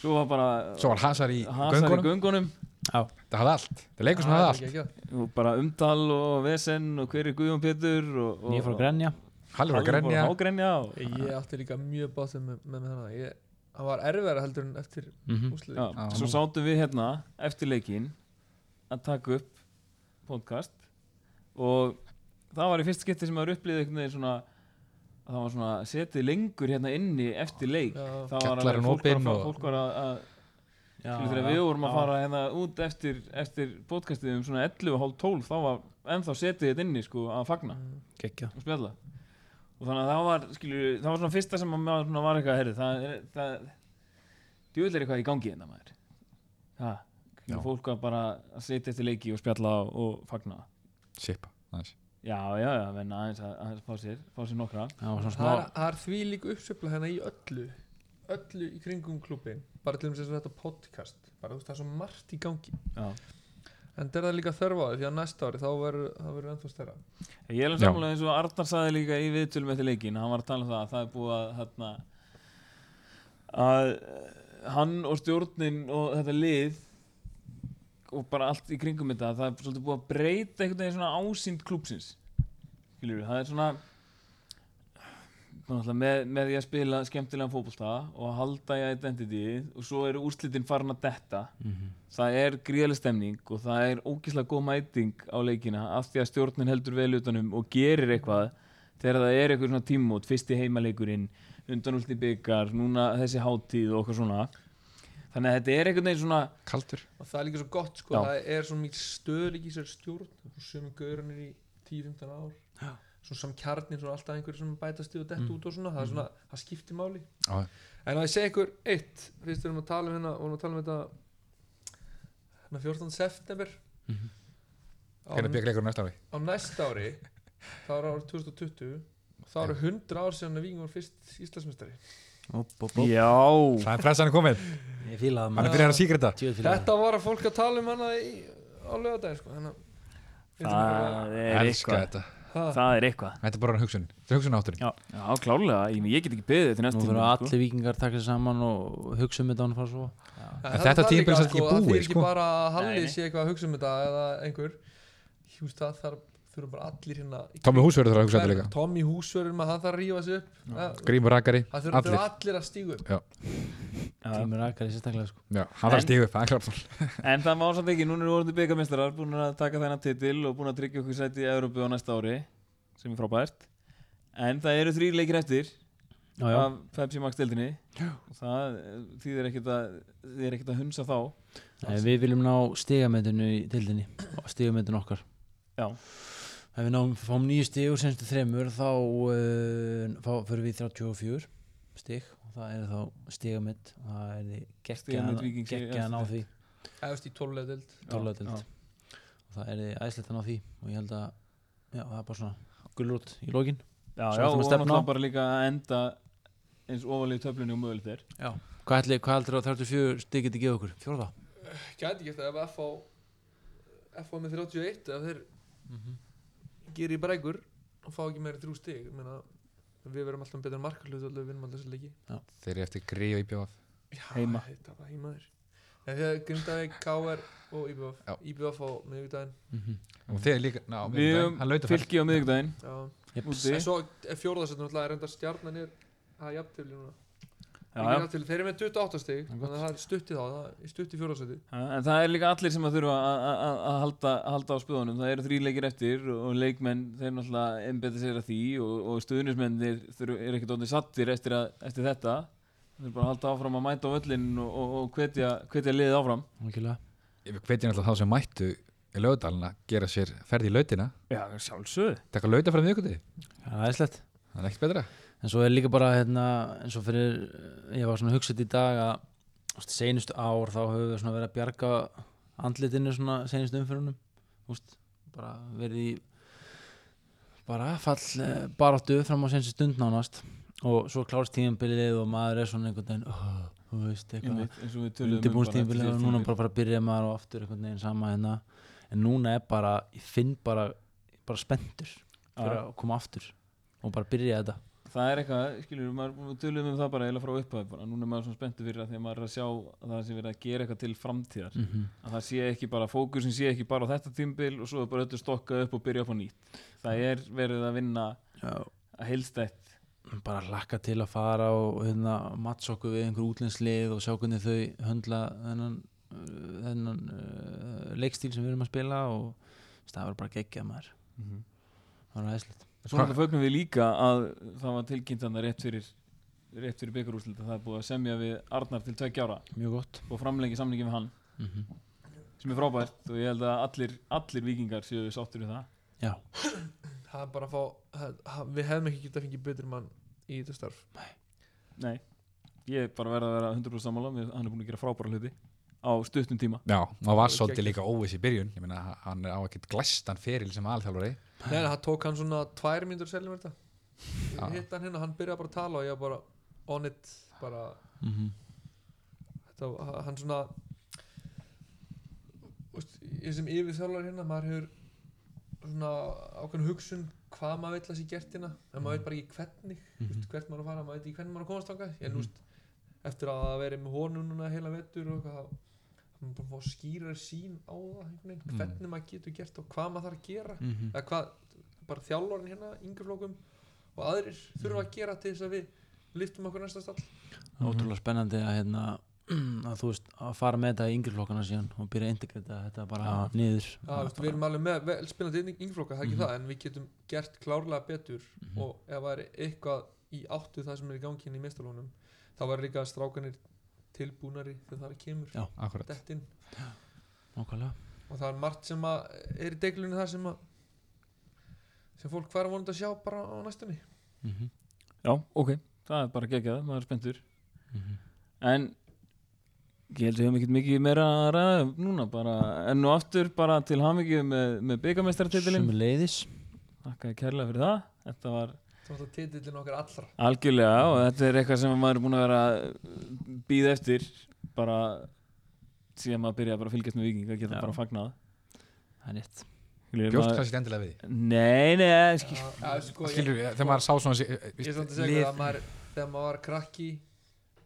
[SPEAKER 2] Svo var bara
[SPEAKER 5] Svo var Hazar í
[SPEAKER 2] Hazar í
[SPEAKER 5] göngunum
[SPEAKER 2] göngunum
[SPEAKER 5] Það hafði allt, það leikur sem
[SPEAKER 4] Það
[SPEAKER 5] hafði
[SPEAKER 4] er
[SPEAKER 5] allt
[SPEAKER 4] geggjað.
[SPEAKER 2] og bara umtal og vesen og hver er Guðjón Pétur og, og
[SPEAKER 3] ég fór að grenja
[SPEAKER 5] Halli var að
[SPEAKER 2] Halli
[SPEAKER 5] grenja
[SPEAKER 2] fór að hágrenja og,
[SPEAKER 4] Ég átti líka mjög bátum með, með með hana ég, Hann var erfiðara heldur en eftir
[SPEAKER 3] Mhm.
[SPEAKER 4] úslið
[SPEAKER 2] Já,
[SPEAKER 5] Já,
[SPEAKER 2] svo
[SPEAKER 5] nú-
[SPEAKER 2] sátum við hérna eftir leikinn að taka upp podcast og það var í fyrst skipti sem maður upplýði einhvern veginn svona að það var svona setið lengur hérna inni eftir leik
[SPEAKER 4] Já.
[SPEAKER 2] það var
[SPEAKER 5] Kjallarinn
[SPEAKER 2] fólk var, að
[SPEAKER 5] opinn
[SPEAKER 2] fá-
[SPEAKER 5] og-
[SPEAKER 2] fólk var að, að skilur þegar við vorum að fara hérna út eftir, eftir podcastið um svona 11.30 þá var ennþá setið þetta inni sko að fagna
[SPEAKER 3] geggja
[SPEAKER 2] og spjalla og þannig að það var, skilur, það var svona fyrsta sem að maður svona var eitthvað, herri, það er það, djúvill er eitthvað í gangi þetta maður ha,
[SPEAKER 5] Já.
[SPEAKER 2] skilur, fólk að bara að setja eftir leiki og spjalla og fagna
[SPEAKER 5] Sipa, aðeins
[SPEAKER 2] já, já, já, menn aðeins að, aðeins fá sér fá sér nokkra,
[SPEAKER 3] það var svona
[SPEAKER 4] Það er,
[SPEAKER 3] smá
[SPEAKER 4] það er því líka uppsöfla hérna í öllu öllu í kringum klubin bara til þess að þetta podcast bara þú veist það er svo margt í gangi
[SPEAKER 2] já
[SPEAKER 4] en það er það líka þörf á því því að næsta ári þá verður það verður ennþá stærra
[SPEAKER 2] ég er alveg
[SPEAKER 5] Já.
[SPEAKER 2] samlega eins og Arnar saði líka í viðtölum eftir leikin, hann var að tala um það að það er búið að hérna að eh, hann og stjórnin og þetta lið og bara allt í kringum þetta það er svolítið búið að breyta einhvern veginn svona ásýnd klúpsins skilur það er svona svona náttúrulega með, með því að spila skemmtilegan fótbolta og að halda í identity og svo eru úrslitin farin að detta það er gríðaleg stemning og það er ógislega góð mæting á leikina af því að stjórnin heldur vel utanum og gerir eitthvað þegar það er eitthvað svona tímót, fyrsti heimaleikurinn undanúlti byggar, núna þessi hátíð og eitthvað svona þannig að þetta er einhvern veginn svona
[SPEAKER 5] Kaldur
[SPEAKER 4] og það er líka svo gott sko
[SPEAKER 2] Já.
[SPEAKER 4] það er svo mikið stöðleik í sér stjórn og sömu gaurunir í 10-15 ár
[SPEAKER 3] Já. Mm.
[SPEAKER 4] svona samkjarnir svona alltaf einhverjir sem bætast í og dett út og svona það, er svona, það skiptir máli
[SPEAKER 5] Já,
[SPEAKER 4] En að ég segi ykkur eitt Fyrst við erum að tala um hérna Við erum að tala um þetta hérna 14. september
[SPEAKER 3] Mhm.
[SPEAKER 4] á,
[SPEAKER 5] hvernig byggur leikur næsta ári
[SPEAKER 4] á næsta ári Það var árið 2020 og Það eru 100 ár síðan að Víking var fyrst Íslandsmeistari
[SPEAKER 3] upp, upp, upp.
[SPEAKER 2] já,
[SPEAKER 5] Það er pressan er komin,
[SPEAKER 3] ég fílaði
[SPEAKER 5] hann er
[SPEAKER 3] maður
[SPEAKER 5] fyrir að síkrita
[SPEAKER 3] Djöfull fílaði
[SPEAKER 4] Þetta var að fólk að tala um hana í, á lögadaginn sko Þannig að
[SPEAKER 2] það er
[SPEAKER 5] Elska
[SPEAKER 2] eitthvað
[SPEAKER 5] þetta,
[SPEAKER 4] Það
[SPEAKER 2] það er eitthvað
[SPEAKER 5] þetta er bara hugsun Þetta er hugsun átturinn
[SPEAKER 3] Já.
[SPEAKER 2] já, klálega, ég, ég get ekki beðið til
[SPEAKER 3] Nú
[SPEAKER 2] næstu sko.
[SPEAKER 3] verður allir vikingar taka sér saman og hugsa um þetta án að fara svo
[SPEAKER 5] En þetta tímabil er samt ekki
[SPEAKER 4] sko, Það
[SPEAKER 5] búið,
[SPEAKER 4] er ekki
[SPEAKER 5] sko.
[SPEAKER 4] bara að
[SPEAKER 2] Nei,
[SPEAKER 4] Halli
[SPEAKER 2] nei.
[SPEAKER 4] sé eitthvað að hugsa um þetta eða einhver Hjúst það þarf þurfa þurfum bara allir hérna í
[SPEAKER 5] Tommy Hús verður það að hugsa þetta líka
[SPEAKER 4] kring- Tommy Húsvörður maður, hann þarf að rífa sig upp það
[SPEAKER 5] Grímur Rakari,
[SPEAKER 4] það þurfa
[SPEAKER 5] allir
[SPEAKER 4] allir. allir að stígu upp
[SPEAKER 3] Tímur Akari sérstaklega sko.
[SPEAKER 5] Já, hann þarf
[SPEAKER 2] En-
[SPEAKER 5] stígu upp, það er klart mál.
[SPEAKER 2] En það má samt ekki, núna eru orðið byggamestrar búin að taka þennan titil og búin að tryggja okkur sæti í Európu á næsta ári sem er frábært En það eru þrý leikir eftir
[SPEAKER 3] Já, já.
[SPEAKER 2] af Pepsi Max deildinni og það eh, þýðir ekkert að þið er ekkert að hunsa þá
[SPEAKER 3] Nei, Við viljum ná stigametinu í tildinni stigametinu okkar
[SPEAKER 2] Já.
[SPEAKER 3] Ef við náum, fáum nýju stig úr senstu þremur þá uh, fá, fyrir við í 34 stig og það er þá stigamett og það er því geggja
[SPEAKER 2] Stigamet
[SPEAKER 3] að-
[SPEAKER 2] Víkings í
[SPEAKER 3] geggja að ná
[SPEAKER 2] efstu
[SPEAKER 3] því
[SPEAKER 4] efst í tólulega dild
[SPEAKER 3] tólöðdelt og það er því æðislegt að ná því og ég held að já, það er bara svona gullrút í lokin
[SPEAKER 2] Já,
[SPEAKER 3] Svo
[SPEAKER 2] já,
[SPEAKER 3] ætlum
[SPEAKER 2] og
[SPEAKER 3] við að stefna á.
[SPEAKER 2] náttúrulega bara líka að enda eins ofalegi töflunni og mögulegt er
[SPEAKER 3] Hvað ætli, hvað heldur að 34 stig geti gefa okkur? Fjórða?
[SPEAKER 4] gæti gert það ef FH FH með 31 ef þeir
[SPEAKER 2] Mhm.
[SPEAKER 4] gerir í brækur og fá ekki meira en þrjú stig ég meina, við verðum alltaf betur markarlut og við vinnum alltaf þessi leiki
[SPEAKER 5] Þeir eru eftir gríu í bjóð
[SPEAKER 4] Já,
[SPEAKER 2] Heima.
[SPEAKER 4] þetta var heimaður þegar Grindavík, KR og IBF
[SPEAKER 5] Já.
[SPEAKER 4] IBF á miðvíkudaginn
[SPEAKER 3] Mm -hmm.
[SPEAKER 5] Og þeir líka, ná,
[SPEAKER 2] Við höfum
[SPEAKER 5] hann lauta fyrst
[SPEAKER 2] Fylki á miðvikudaginn
[SPEAKER 4] en
[SPEAKER 2] úti
[SPEAKER 4] svo fjórðarsöndum alltaf er enda stjarnan er að jafntefli núna
[SPEAKER 2] Já,
[SPEAKER 4] Ekki
[SPEAKER 2] já.
[SPEAKER 4] jafntefli, þeir eru með 28 stig þannig að það er stutt í þá, það er stutt í fjórðarsöndi
[SPEAKER 2] Já, En það er líka allir sem að þurfa að- að- að að halda, að halda á spöðunum. Það eru þrý leikir eftir og leikmenn þeir náttúrulega einbetta sér að því og, og stuðnismennir þurfa- eru ekkert orðin sattir eftir, að, eftir þetta. Það er bara að halda áfram að mæta á völlin og, og, og hvetja, hvetja liðið áfram.
[SPEAKER 5] Ég hveti náttúrulega þá sem mættu í lögadalina gera sér ferð í lautina
[SPEAKER 2] Já, sjálfsög.
[SPEAKER 5] Takk að lauta fram í ykkurði,
[SPEAKER 3] Það er æðislegt
[SPEAKER 5] það er ekkert betra
[SPEAKER 3] En svo er líka bara hérna, eins og fyrir, ég var svona hugsað í dag að þú veist, seinustu ár þá höfum við svona verið að bjarga andlitinu svona seinustu umfyrunum, úst, bara verið í bara fall eh, baráttu fram á seinustu stund nánast og svo klárst tíðanbilið og maður er svona einhvern veginn, oh, þú veist, eitthvað
[SPEAKER 2] Eins og við tölum um
[SPEAKER 3] undirbúinstíðanbilið og núna bara, bara byrja maður og aftur einhvern veginn sama hérna en núna er bara, ég finn bara, bara spenntur
[SPEAKER 2] Já.
[SPEAKER 3] fyrir að koma aftur og bara byrja þetta
[SPEAKER 2] Það er eitthvað, skilur, maður við tölum um það bara eða frá upphæði bara. Núna er maður svona spenntu fyrir það þegar maður er að sjá að það sé verið að gera eitthvað til framtíðar.
[SPEAKER 3] mm
[SPEAKER 2] að það sé ekki bara, fókusin sé ekki bara á þetta tímbil og svo er bara öllu stokkað upp og byrja upp á nýtt það er verið að vinna
[SPEAKER 3] Já,
[SPEAKER 2] að heilstætt
[SPEAKER 3] bara hlakka til að fara og hérna, matts okkur við einhver útlænslið og sjá hvernig þau höndla þennan, uh, þennan uh, leikstíl sem við erum að spila og veist, það var bara geggjað maður
[SPEAKER 4] Mhm.
[SPEAKER 3] það var aðeinslegt
[SPEAKER 2] svo náttúrulega fögnum við líka að það var tilkynnt hann rétt fyrir rétt fyrir byggarúslit það er búið að semja við Arnar til tveggja ára
[SPEAKER 3] mjög gott
[SPEAKER 2] og framlengi samningi við hann
[SPEAKER 3] mm
[SPEAKER 2] sem er frábært og ég held að allir, allir vikingar séu sáttur við það
[SPEAKER 3] já,
[SPEAKER 4] það er bara að fá það- það- við hefum ekki getað fengið betur mann í þetta starf
[SPEAKER 2] nei, ég er bara verið að vera 100% sammála, mér- hann er búin að gera frábæra hluti á stuttum tíma
[SPEAKER 5] Já, og var
[SPEAKER 4] er
[SPEAKER 5] svolítið
[SPEAKER 4] geggjað.
[SPEAKER 5] líka óviss í byrjun Ég meina, hann er á ekkert glæstan feril sem alþjálfari
[SPEAKER 4] Nei, nei, það tók hann svona tvær mínútur að selja mér þetta
[SPEAKER 5] Já.
[SPEAKER 4] Ég hitt hann hérna, hann byrjaði bara að tala og ég var bara on it bara,
[SPEAKER 3] mm
[SPEAKER 4] þetta, var- hann svona úst, ég sem yfir þjálfari hérna maður hefur svona ákveðin hugsun hvað maður vill að sé gert hérna en maður veit bara ekki hvernig, mm
[SPEAKER 3] Mhm.
[SPEAKER 4] -hmm. hvert maður á að fara maður veit ekki hvernig maður á að komast þangað en mm eftir að vera með honum núna heila vettur og hvað maður bara fá skýrar sín á það einhvern veginn, hvernig maður getur gert og hvað maður þarf að gera
[SPEAKER 3] Mhm.
[SPEAKER 4] eða hvað, bara þjálfarin hérna yngri flókum og aðrir þurfa að gera til þess að við lyftum okkur næsta stall
[SPEAKER 3] ótrúlega spennandi að hérna að þú veist, að fara með þetta í yngri flokkana síðan og byrja að integrita þetta bara niður
[SPEAKER 4] Já, þú veist, við erum alveg með vel spilandi yngflokka, það er ekki
[SPEAKER 5] Mhm.
[SPEAKER 4] það, en við getum gert klárlega betur og ef það er eitthvað í áttu það sem er í gangi hérna í mestalónum, þá var líka strákanir tilbúnari þegar það kemur
[SPEAKER 3] Já.
[SPEAKER 5] Akkurat,
[SPEAKER 4] dettin
[SPEAKER 3] nákvæmlega
[SPEAKER 4] og það er margt sem að er í deiglunni þar sem að sem fólk hver vonandi að sjá bara á næstunni
[SPEAKER 3] mm -hmm.
[SPEAKER 2] Já, ok, það er bara geggjað, maður er spenntur
[SPEAKER 3] Mhm.
[SPEAKER 2] En ég held að við höfum ekkert mikið meira að ræða um núna bara enn og aftur bara til hamingju með, með byggamestartitilin
[SPEAKER 3] sem leiðis
[SPEAKER 2] Þakka þér kærlega fyrir það Þetta var
[SPEAKER 4] þá er þetta titillin okkar allra
[SPEAKER 2] algjörlega og þetta er eitthvað sem maður er búin að vera býð eftir bara síðan maður byrja bara að fylgjast með viking að geta
[SPEAKER 3] Já.
[SPEAKER 2] bara fagnað
[SPEAKER 3] það er rétt
[SPEAKER 2] Skilur,
[SPEAKER 5] bjóst
[SPEAKER 2] maður-
[SPEAKER 5] kannski ekki endilega við því.
[SPEAKER 2] Nei, nei, skil,
[SPEAKER 4] Já, sko, ég-
[SPEAKER 5] Skilur, þegar maður sá svona eh, eh,
[SPEAKER 4] Ég er
[SPEAKER 5] víst,
[SPEAKER 4] svolítið að segja
[SPEAKER 5] lið-
[SPEAKER 4] ykkur að maður, þegar maður var krakki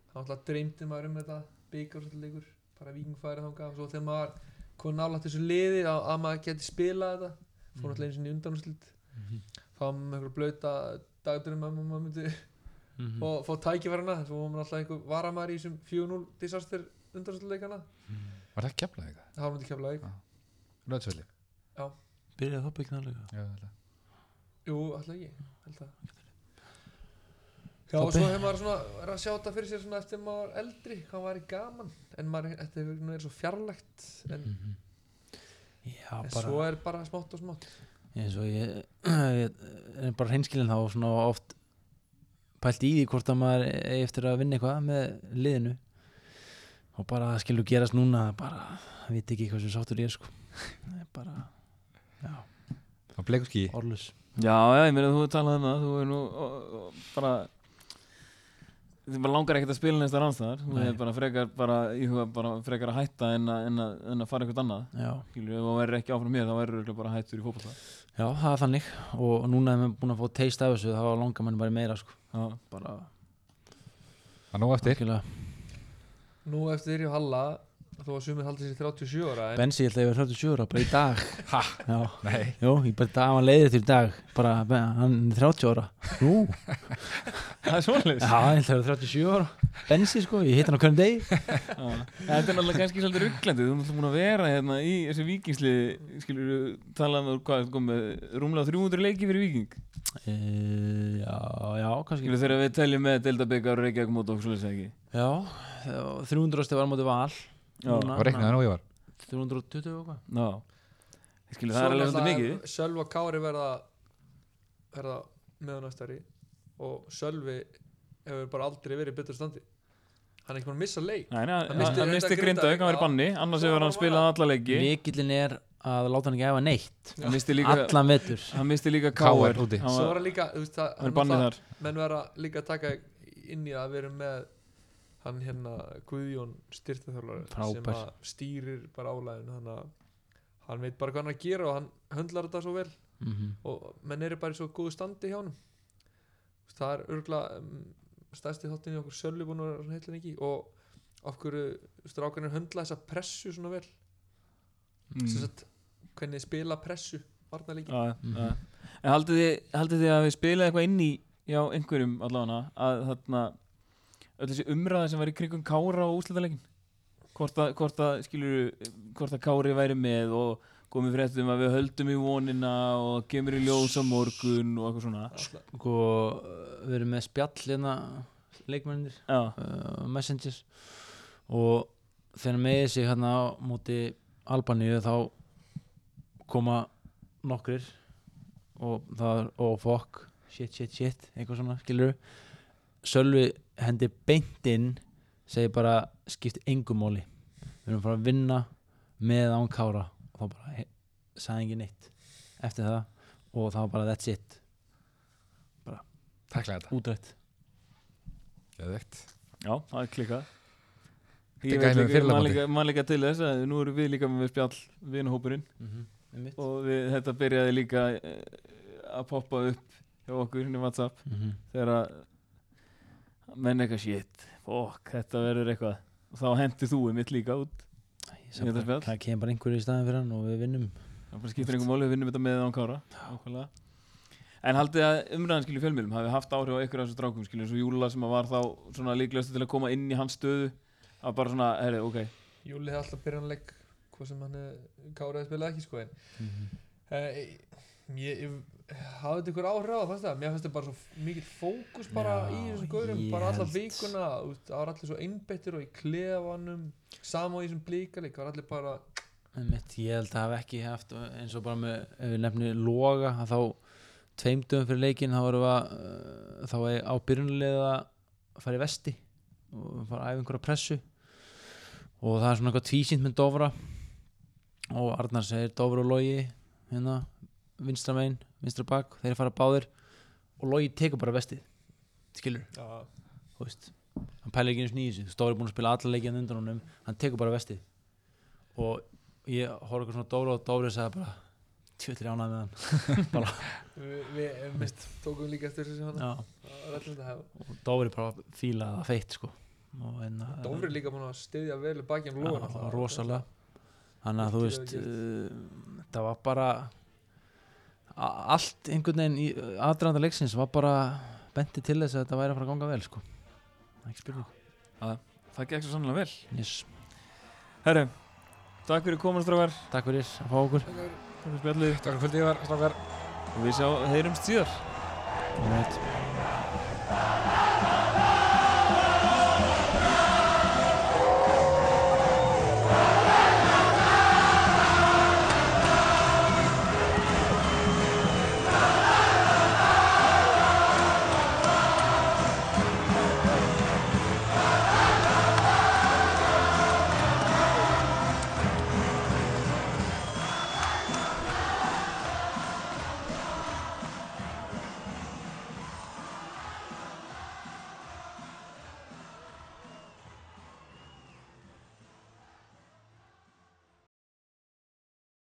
[SPEAKER 4] þá alltaf dreymdi maður um þetta byggarúrstuleikur, bara vikingfæri þangað og svo þegar maður var komið nálægt þessu liði að, að maður geti spilað þetta fór alltaf einu sinni í undanúrslit þá var maður með einhverja blöta dagdurinn að maður myndi
[SPEAKER 3] Mhm.
[SPEAKER 4] fá, fá tækifærana svo var maður alltaf einhver varamæri í þessum 4-0 disaster undanúrslitleikana
[SPEAKER 5] Var það kemlað eitthvað?
[SPEAKER 4] það var myndi kemla ekki
[SPEAKER 5] Já. Löðsvöldi
[SPEAKER 3] Byrjaði þá byggnaðlega
[SPEAKER 4] jú, alltaf ekki held að Já, og svo hefur maður svona verið að sjá þetta fyrir sér svona eftir maður var eldri, hvað væri gaman en maður, þetta hefur nú verið svo fjarlægt en,
[SPEAKER 3] Mhm. Já,
[SPEAKER 4] en
[SPEAKER 3] bara
[SPEAKER 4] svo er bara smátt og smátt
[SPEAKER 3] eins og ég, ég er bara hreinskilin þá svona oft pælt í því hvort að maður eigi eftir að vinna eitthvað með liðinu og bara það skilur gerast núna bara, ég veit ekki hvað sem sáttur ég er, sko það er bara, já,
[SPEAKER 5] Og bleikur skí
[SPEAKER 3] orlus
[SPEAKER 2] Já, já, ég meina þú hefur talað um það Þú hefur nú ó, ó, bara Þið bara langar ekkert að spila næsta rannstæðar Þú
[SPEAKER 3] Nei.
[SPEAKER 2] hefur bara frekar bara, Ég huga bara frekar að hætta en að, en að, en að fara eitthvað annað
[SPEAKER 3] já,
[SPEAKER 2] Skilur, ef þú verður ekki áfram mér þá verður þú bara hættur í fótbolta
[SPEAKER 3] já, það er þannig og núna er maður búin að fá teist af þessu þá langar mann bara í meira, sko
[SPEAKER 2] Já,
[SPEAKER 3] bara,
[SPEAKER 5] Það er nóg eftir
[SPEAKER 3] algjörlega.
[SPEAKER 4] Nú eftir þér í Halla þó að sumið haldi sér 37 ára en
[SPEAKER 3] Bensi, ég held að ég var 37 ára, bara í dag ha, já
[SPEAKER 5] Nei
[SPEAKER 3] Jó, ég bara dag, hann leiðir til í dag bara, hann er 30 ára Nú,
[SPEAKER 2] það er
[SPEAKER 3] já,
[SPEAKER 2] svoleiðis
[SPEAKER 3] hann er 37 ára Bensi, sko, ég hitt hann á hverjum degi
[SPEAKER 2] Já. Þetta er náttúrulega kannski svolítið rugglandi Þú ert náttúrulega búin að vera hérna í þessu vikingsli Skilur þú talað um hvað kom með Rúmlega 300 leiki fyrir viking
[SPEAKER 3] e, Já, já, kannski
[SPEAKER 2] Skilur þegar við teljum með Deildabekar og Reykjavík mót og svolítið ekki
[SPEAKER 3] Já, þá- 300 ástu var móti val
[SPEAKER 2] Já,
[SPEAKER 3] Núna,
[SPEAKER 5] Og reiknaði nú ég var
[SPEAKER 3] 320 og eitthvað
[SPEAKER 2] Já Skilur það er alveg svolítið mikið
[SPEAKER 4] Sölva Kári verða verða meðanæstari og Sölvi hefur bara aldrei verið í betur standi hann er ekki búin að missa leik
[SPEAKER 2] Nei, nei, hann, hann
[SPEAKER 4] missti reyndar
[SPEAKER 2] misti grindaug,
[SPEAKER 4] Grindavík,
[SPEAKER 2] hann var í
[SPEAKER 4] já.
[SPEAKER 2] banni annars
[SPEAKER 4] Svo
[SPEAKER 2] hefur
[SPEAKER 4] var
[SPEAKER 2] hann
[SPEAKER 4] hann
[SPEAKER 2] spilað alla leiki
[SPEAKER 3] Mikillin er að láta hann ekki æfa neitt
[SPEAKER 2] hann misti líka,
[SPEAKER 3] Allan vetur
[SPEAKER 2] hann misti líka
[SPEAKER 5] KR
[SPEAKER 2] KR
[SPEAKER 5] úti.
[SPEAKER 2] hann
[SPEAKER 4] svo
[SPEAKER 2] var,
[SPEAKER 4] var hann líka þú veist, það,
[SPEAKER 2] hann var í banni
[SPEAKER 4] náttúrulega-
[SPEAKER 2] þar
[SPEAKER 4] menn verða líka að taka inn í að vera með hann hérna Guðjón styrtaþjálfari sem
[SPEAKER 3] Frábær.
[SPEAKER 4] að stýrir bara álæðin þannig að hann veit bara hvað hann er að gera og hann höndlar þetta svo vel
[SPEAKER 3] mm
[SPEAKER 4] og menn eru bara í svo góðu standi hjá hann það er örgla um, stærsti þáttin í okkur Sölvi búin að vera heilin ekki og okkur strákanir höndla þessa pressu svona vel mm. sagt, hvernig þið spila pressu varnarleiki
[SPEAKER 2] Já, já. en haldið þið, haldið þið að við spilaði eitthvað inn í já, einhverjum allavega að þarna öll þessi umræða sem var í kringum Kára og úslitaleikin hvort að, hvort að skilur hvort að Kári væri með og komið fréttum að við höldum í vonina og kemur í ljós á morgun og eitthvað svona
[SPEAKER 3] Og Sko, við erum með spjall hérna leikmennir
[SPEAKER 2] já,
[SPEAKER 3] uh, Messenger og þegar meði sig hérna á móti Albaníu þá koma nokkrir og það er oh fuck shit shit shit eitthvað svona skilur Sölvi hendi beint inn segir bara skipt engum móli við erum bara að vinna með án kára og þá bara he- sagði engin neitt eftir það og það var bara that's it
[SPEAKER 5] Takk lega
[SPEAKER 3] útrætt
[SPEAKER 5] þetta Geðvegt
[SPEAKER 2] já, það er klikkað
[SPEAKER 5] er
[SPEAKER 2] Ég
[SPEAKER 5] gæmi við
[SPEAKER 2] veit líka,
[SPEAKER 5] fyrirliðamótið.
[SPEAKER 2] maður líka, maður líka til þess að nú erum við líka með spjall vinahópurinn
[SPEAKER 3] mm -hmm.
[SPEAKER 2] og við, þetta byrjaði líka eh, að poppa upp hjá okkur hérna í WhatsApp
[SPEAKER 3] Mhm.
[SPEAKER 2] þegar að menn eitthvað shit, fokk, þetta verður eitthvað og þá hendi þú um mitt líka út
[SPEAKER 3] Sem
[SPEAKER 2] Ég veit að
[SPEAKER 3] bara,
[SPEAKER 2] spjall.
[SPEAKER 3] það kemur bara einhverju í staðin fyrir hann og við vinnum
[SPEAKER 2] það bara skiptir einhver máli, við vinnum þetta með án kára ákvæmlega. en haldið að umræðan skilju fjölmjölum hafi haft áhrif á ykkur af þessu strákum skilju eins og Júla sem að var þá svona líklegast til að koma inn í hans stöðu að bara svona, herri, ok,
[SPEAKER 4] Júli hefði alltaf byrjanleik hvað sem hann káraði spilaði ekki sko en
[SPEAKER 2] Mhm.
[SPEAKER 4] uh, ég, ég hafði þetta ykkur áhrif á fannst það, mér fannst þetta bara svo mikið fókus bara
[SPEAKER 3] Já,
[SPEAKER 4] í þessum gaurum,
[SPEAKER 3] ég
[SPEAKER 4] bara alla
[SPEAKER 3] held.
[SPEAKER 4] vikuna út, það var allir svo einbettir og í klefanum sama í þessum blíkalik, það var allir bara
[SPEAKER 3] Einmitt, ég held að það hafi ekki haft eins og bara með, ef við nefnir loga að þá tveimdöfum fyrir leikin þá erum við að, uh, þá er á byrjunlega að fara í vesti og fara að æfa einhverja pressu og það er svona eitthvað tvísýnt með Dofra og Arnar segir Dofra og Logi hérna, vinstra megin, vinstra bak þeir fara báðir og Logi tekur bara vestið, skilur
[SPEAKER 4] já,
[SPEAKER 3] þú veist hann pælir ekki einu sinni í þessu, Stóri er búin að spila alla leikið undan honum, hann tekur bara vestið og ég horf eitthvað svona Dóra og Dóri sagði bara tjöldri ánæði með
[SPEAKER 4] við, við mist, tókum líka eftir þessu hann
[SPEAKER 3] hann
[SPEAKER 4] það
[SPEAKER 3] Já.
[SPEAKER 4] var allir þetta hef
[SPEAKER 3] og Dóri bara fílaði það feitt sko og en að-
[SPEAKER 4] Dófri líka búin að styðja vel baki um
[SPEAKER 3] Já,
[SPEAKER 4] lóðan
[SPEAKER 3] rosalega þannig að þú veist
[SPEAKER 4] Virkilega
[SPEAKER 3] uh, það var bara a- allt einhvern veginn í aðdraðanda leiksins var bara benti til þess að þetta væri að fara að ganga vel sko. Það er ekki spurning
[SPEAKER 2] það gekk svo sannlega vel
[SPEAKER 3] yes.
[SPEAKER 2] herru, takk fyrir komast drágar
[SPEAKER 3] Takk fyrir að fá okkur
[SPEAKER 2] takk fyrir spjallið
[SPEAKER 5] Takk fyrir því var, strákar
[SPEAKER 2] og við sjá, heyrumst síðar
[SPEAKER 3] Alright.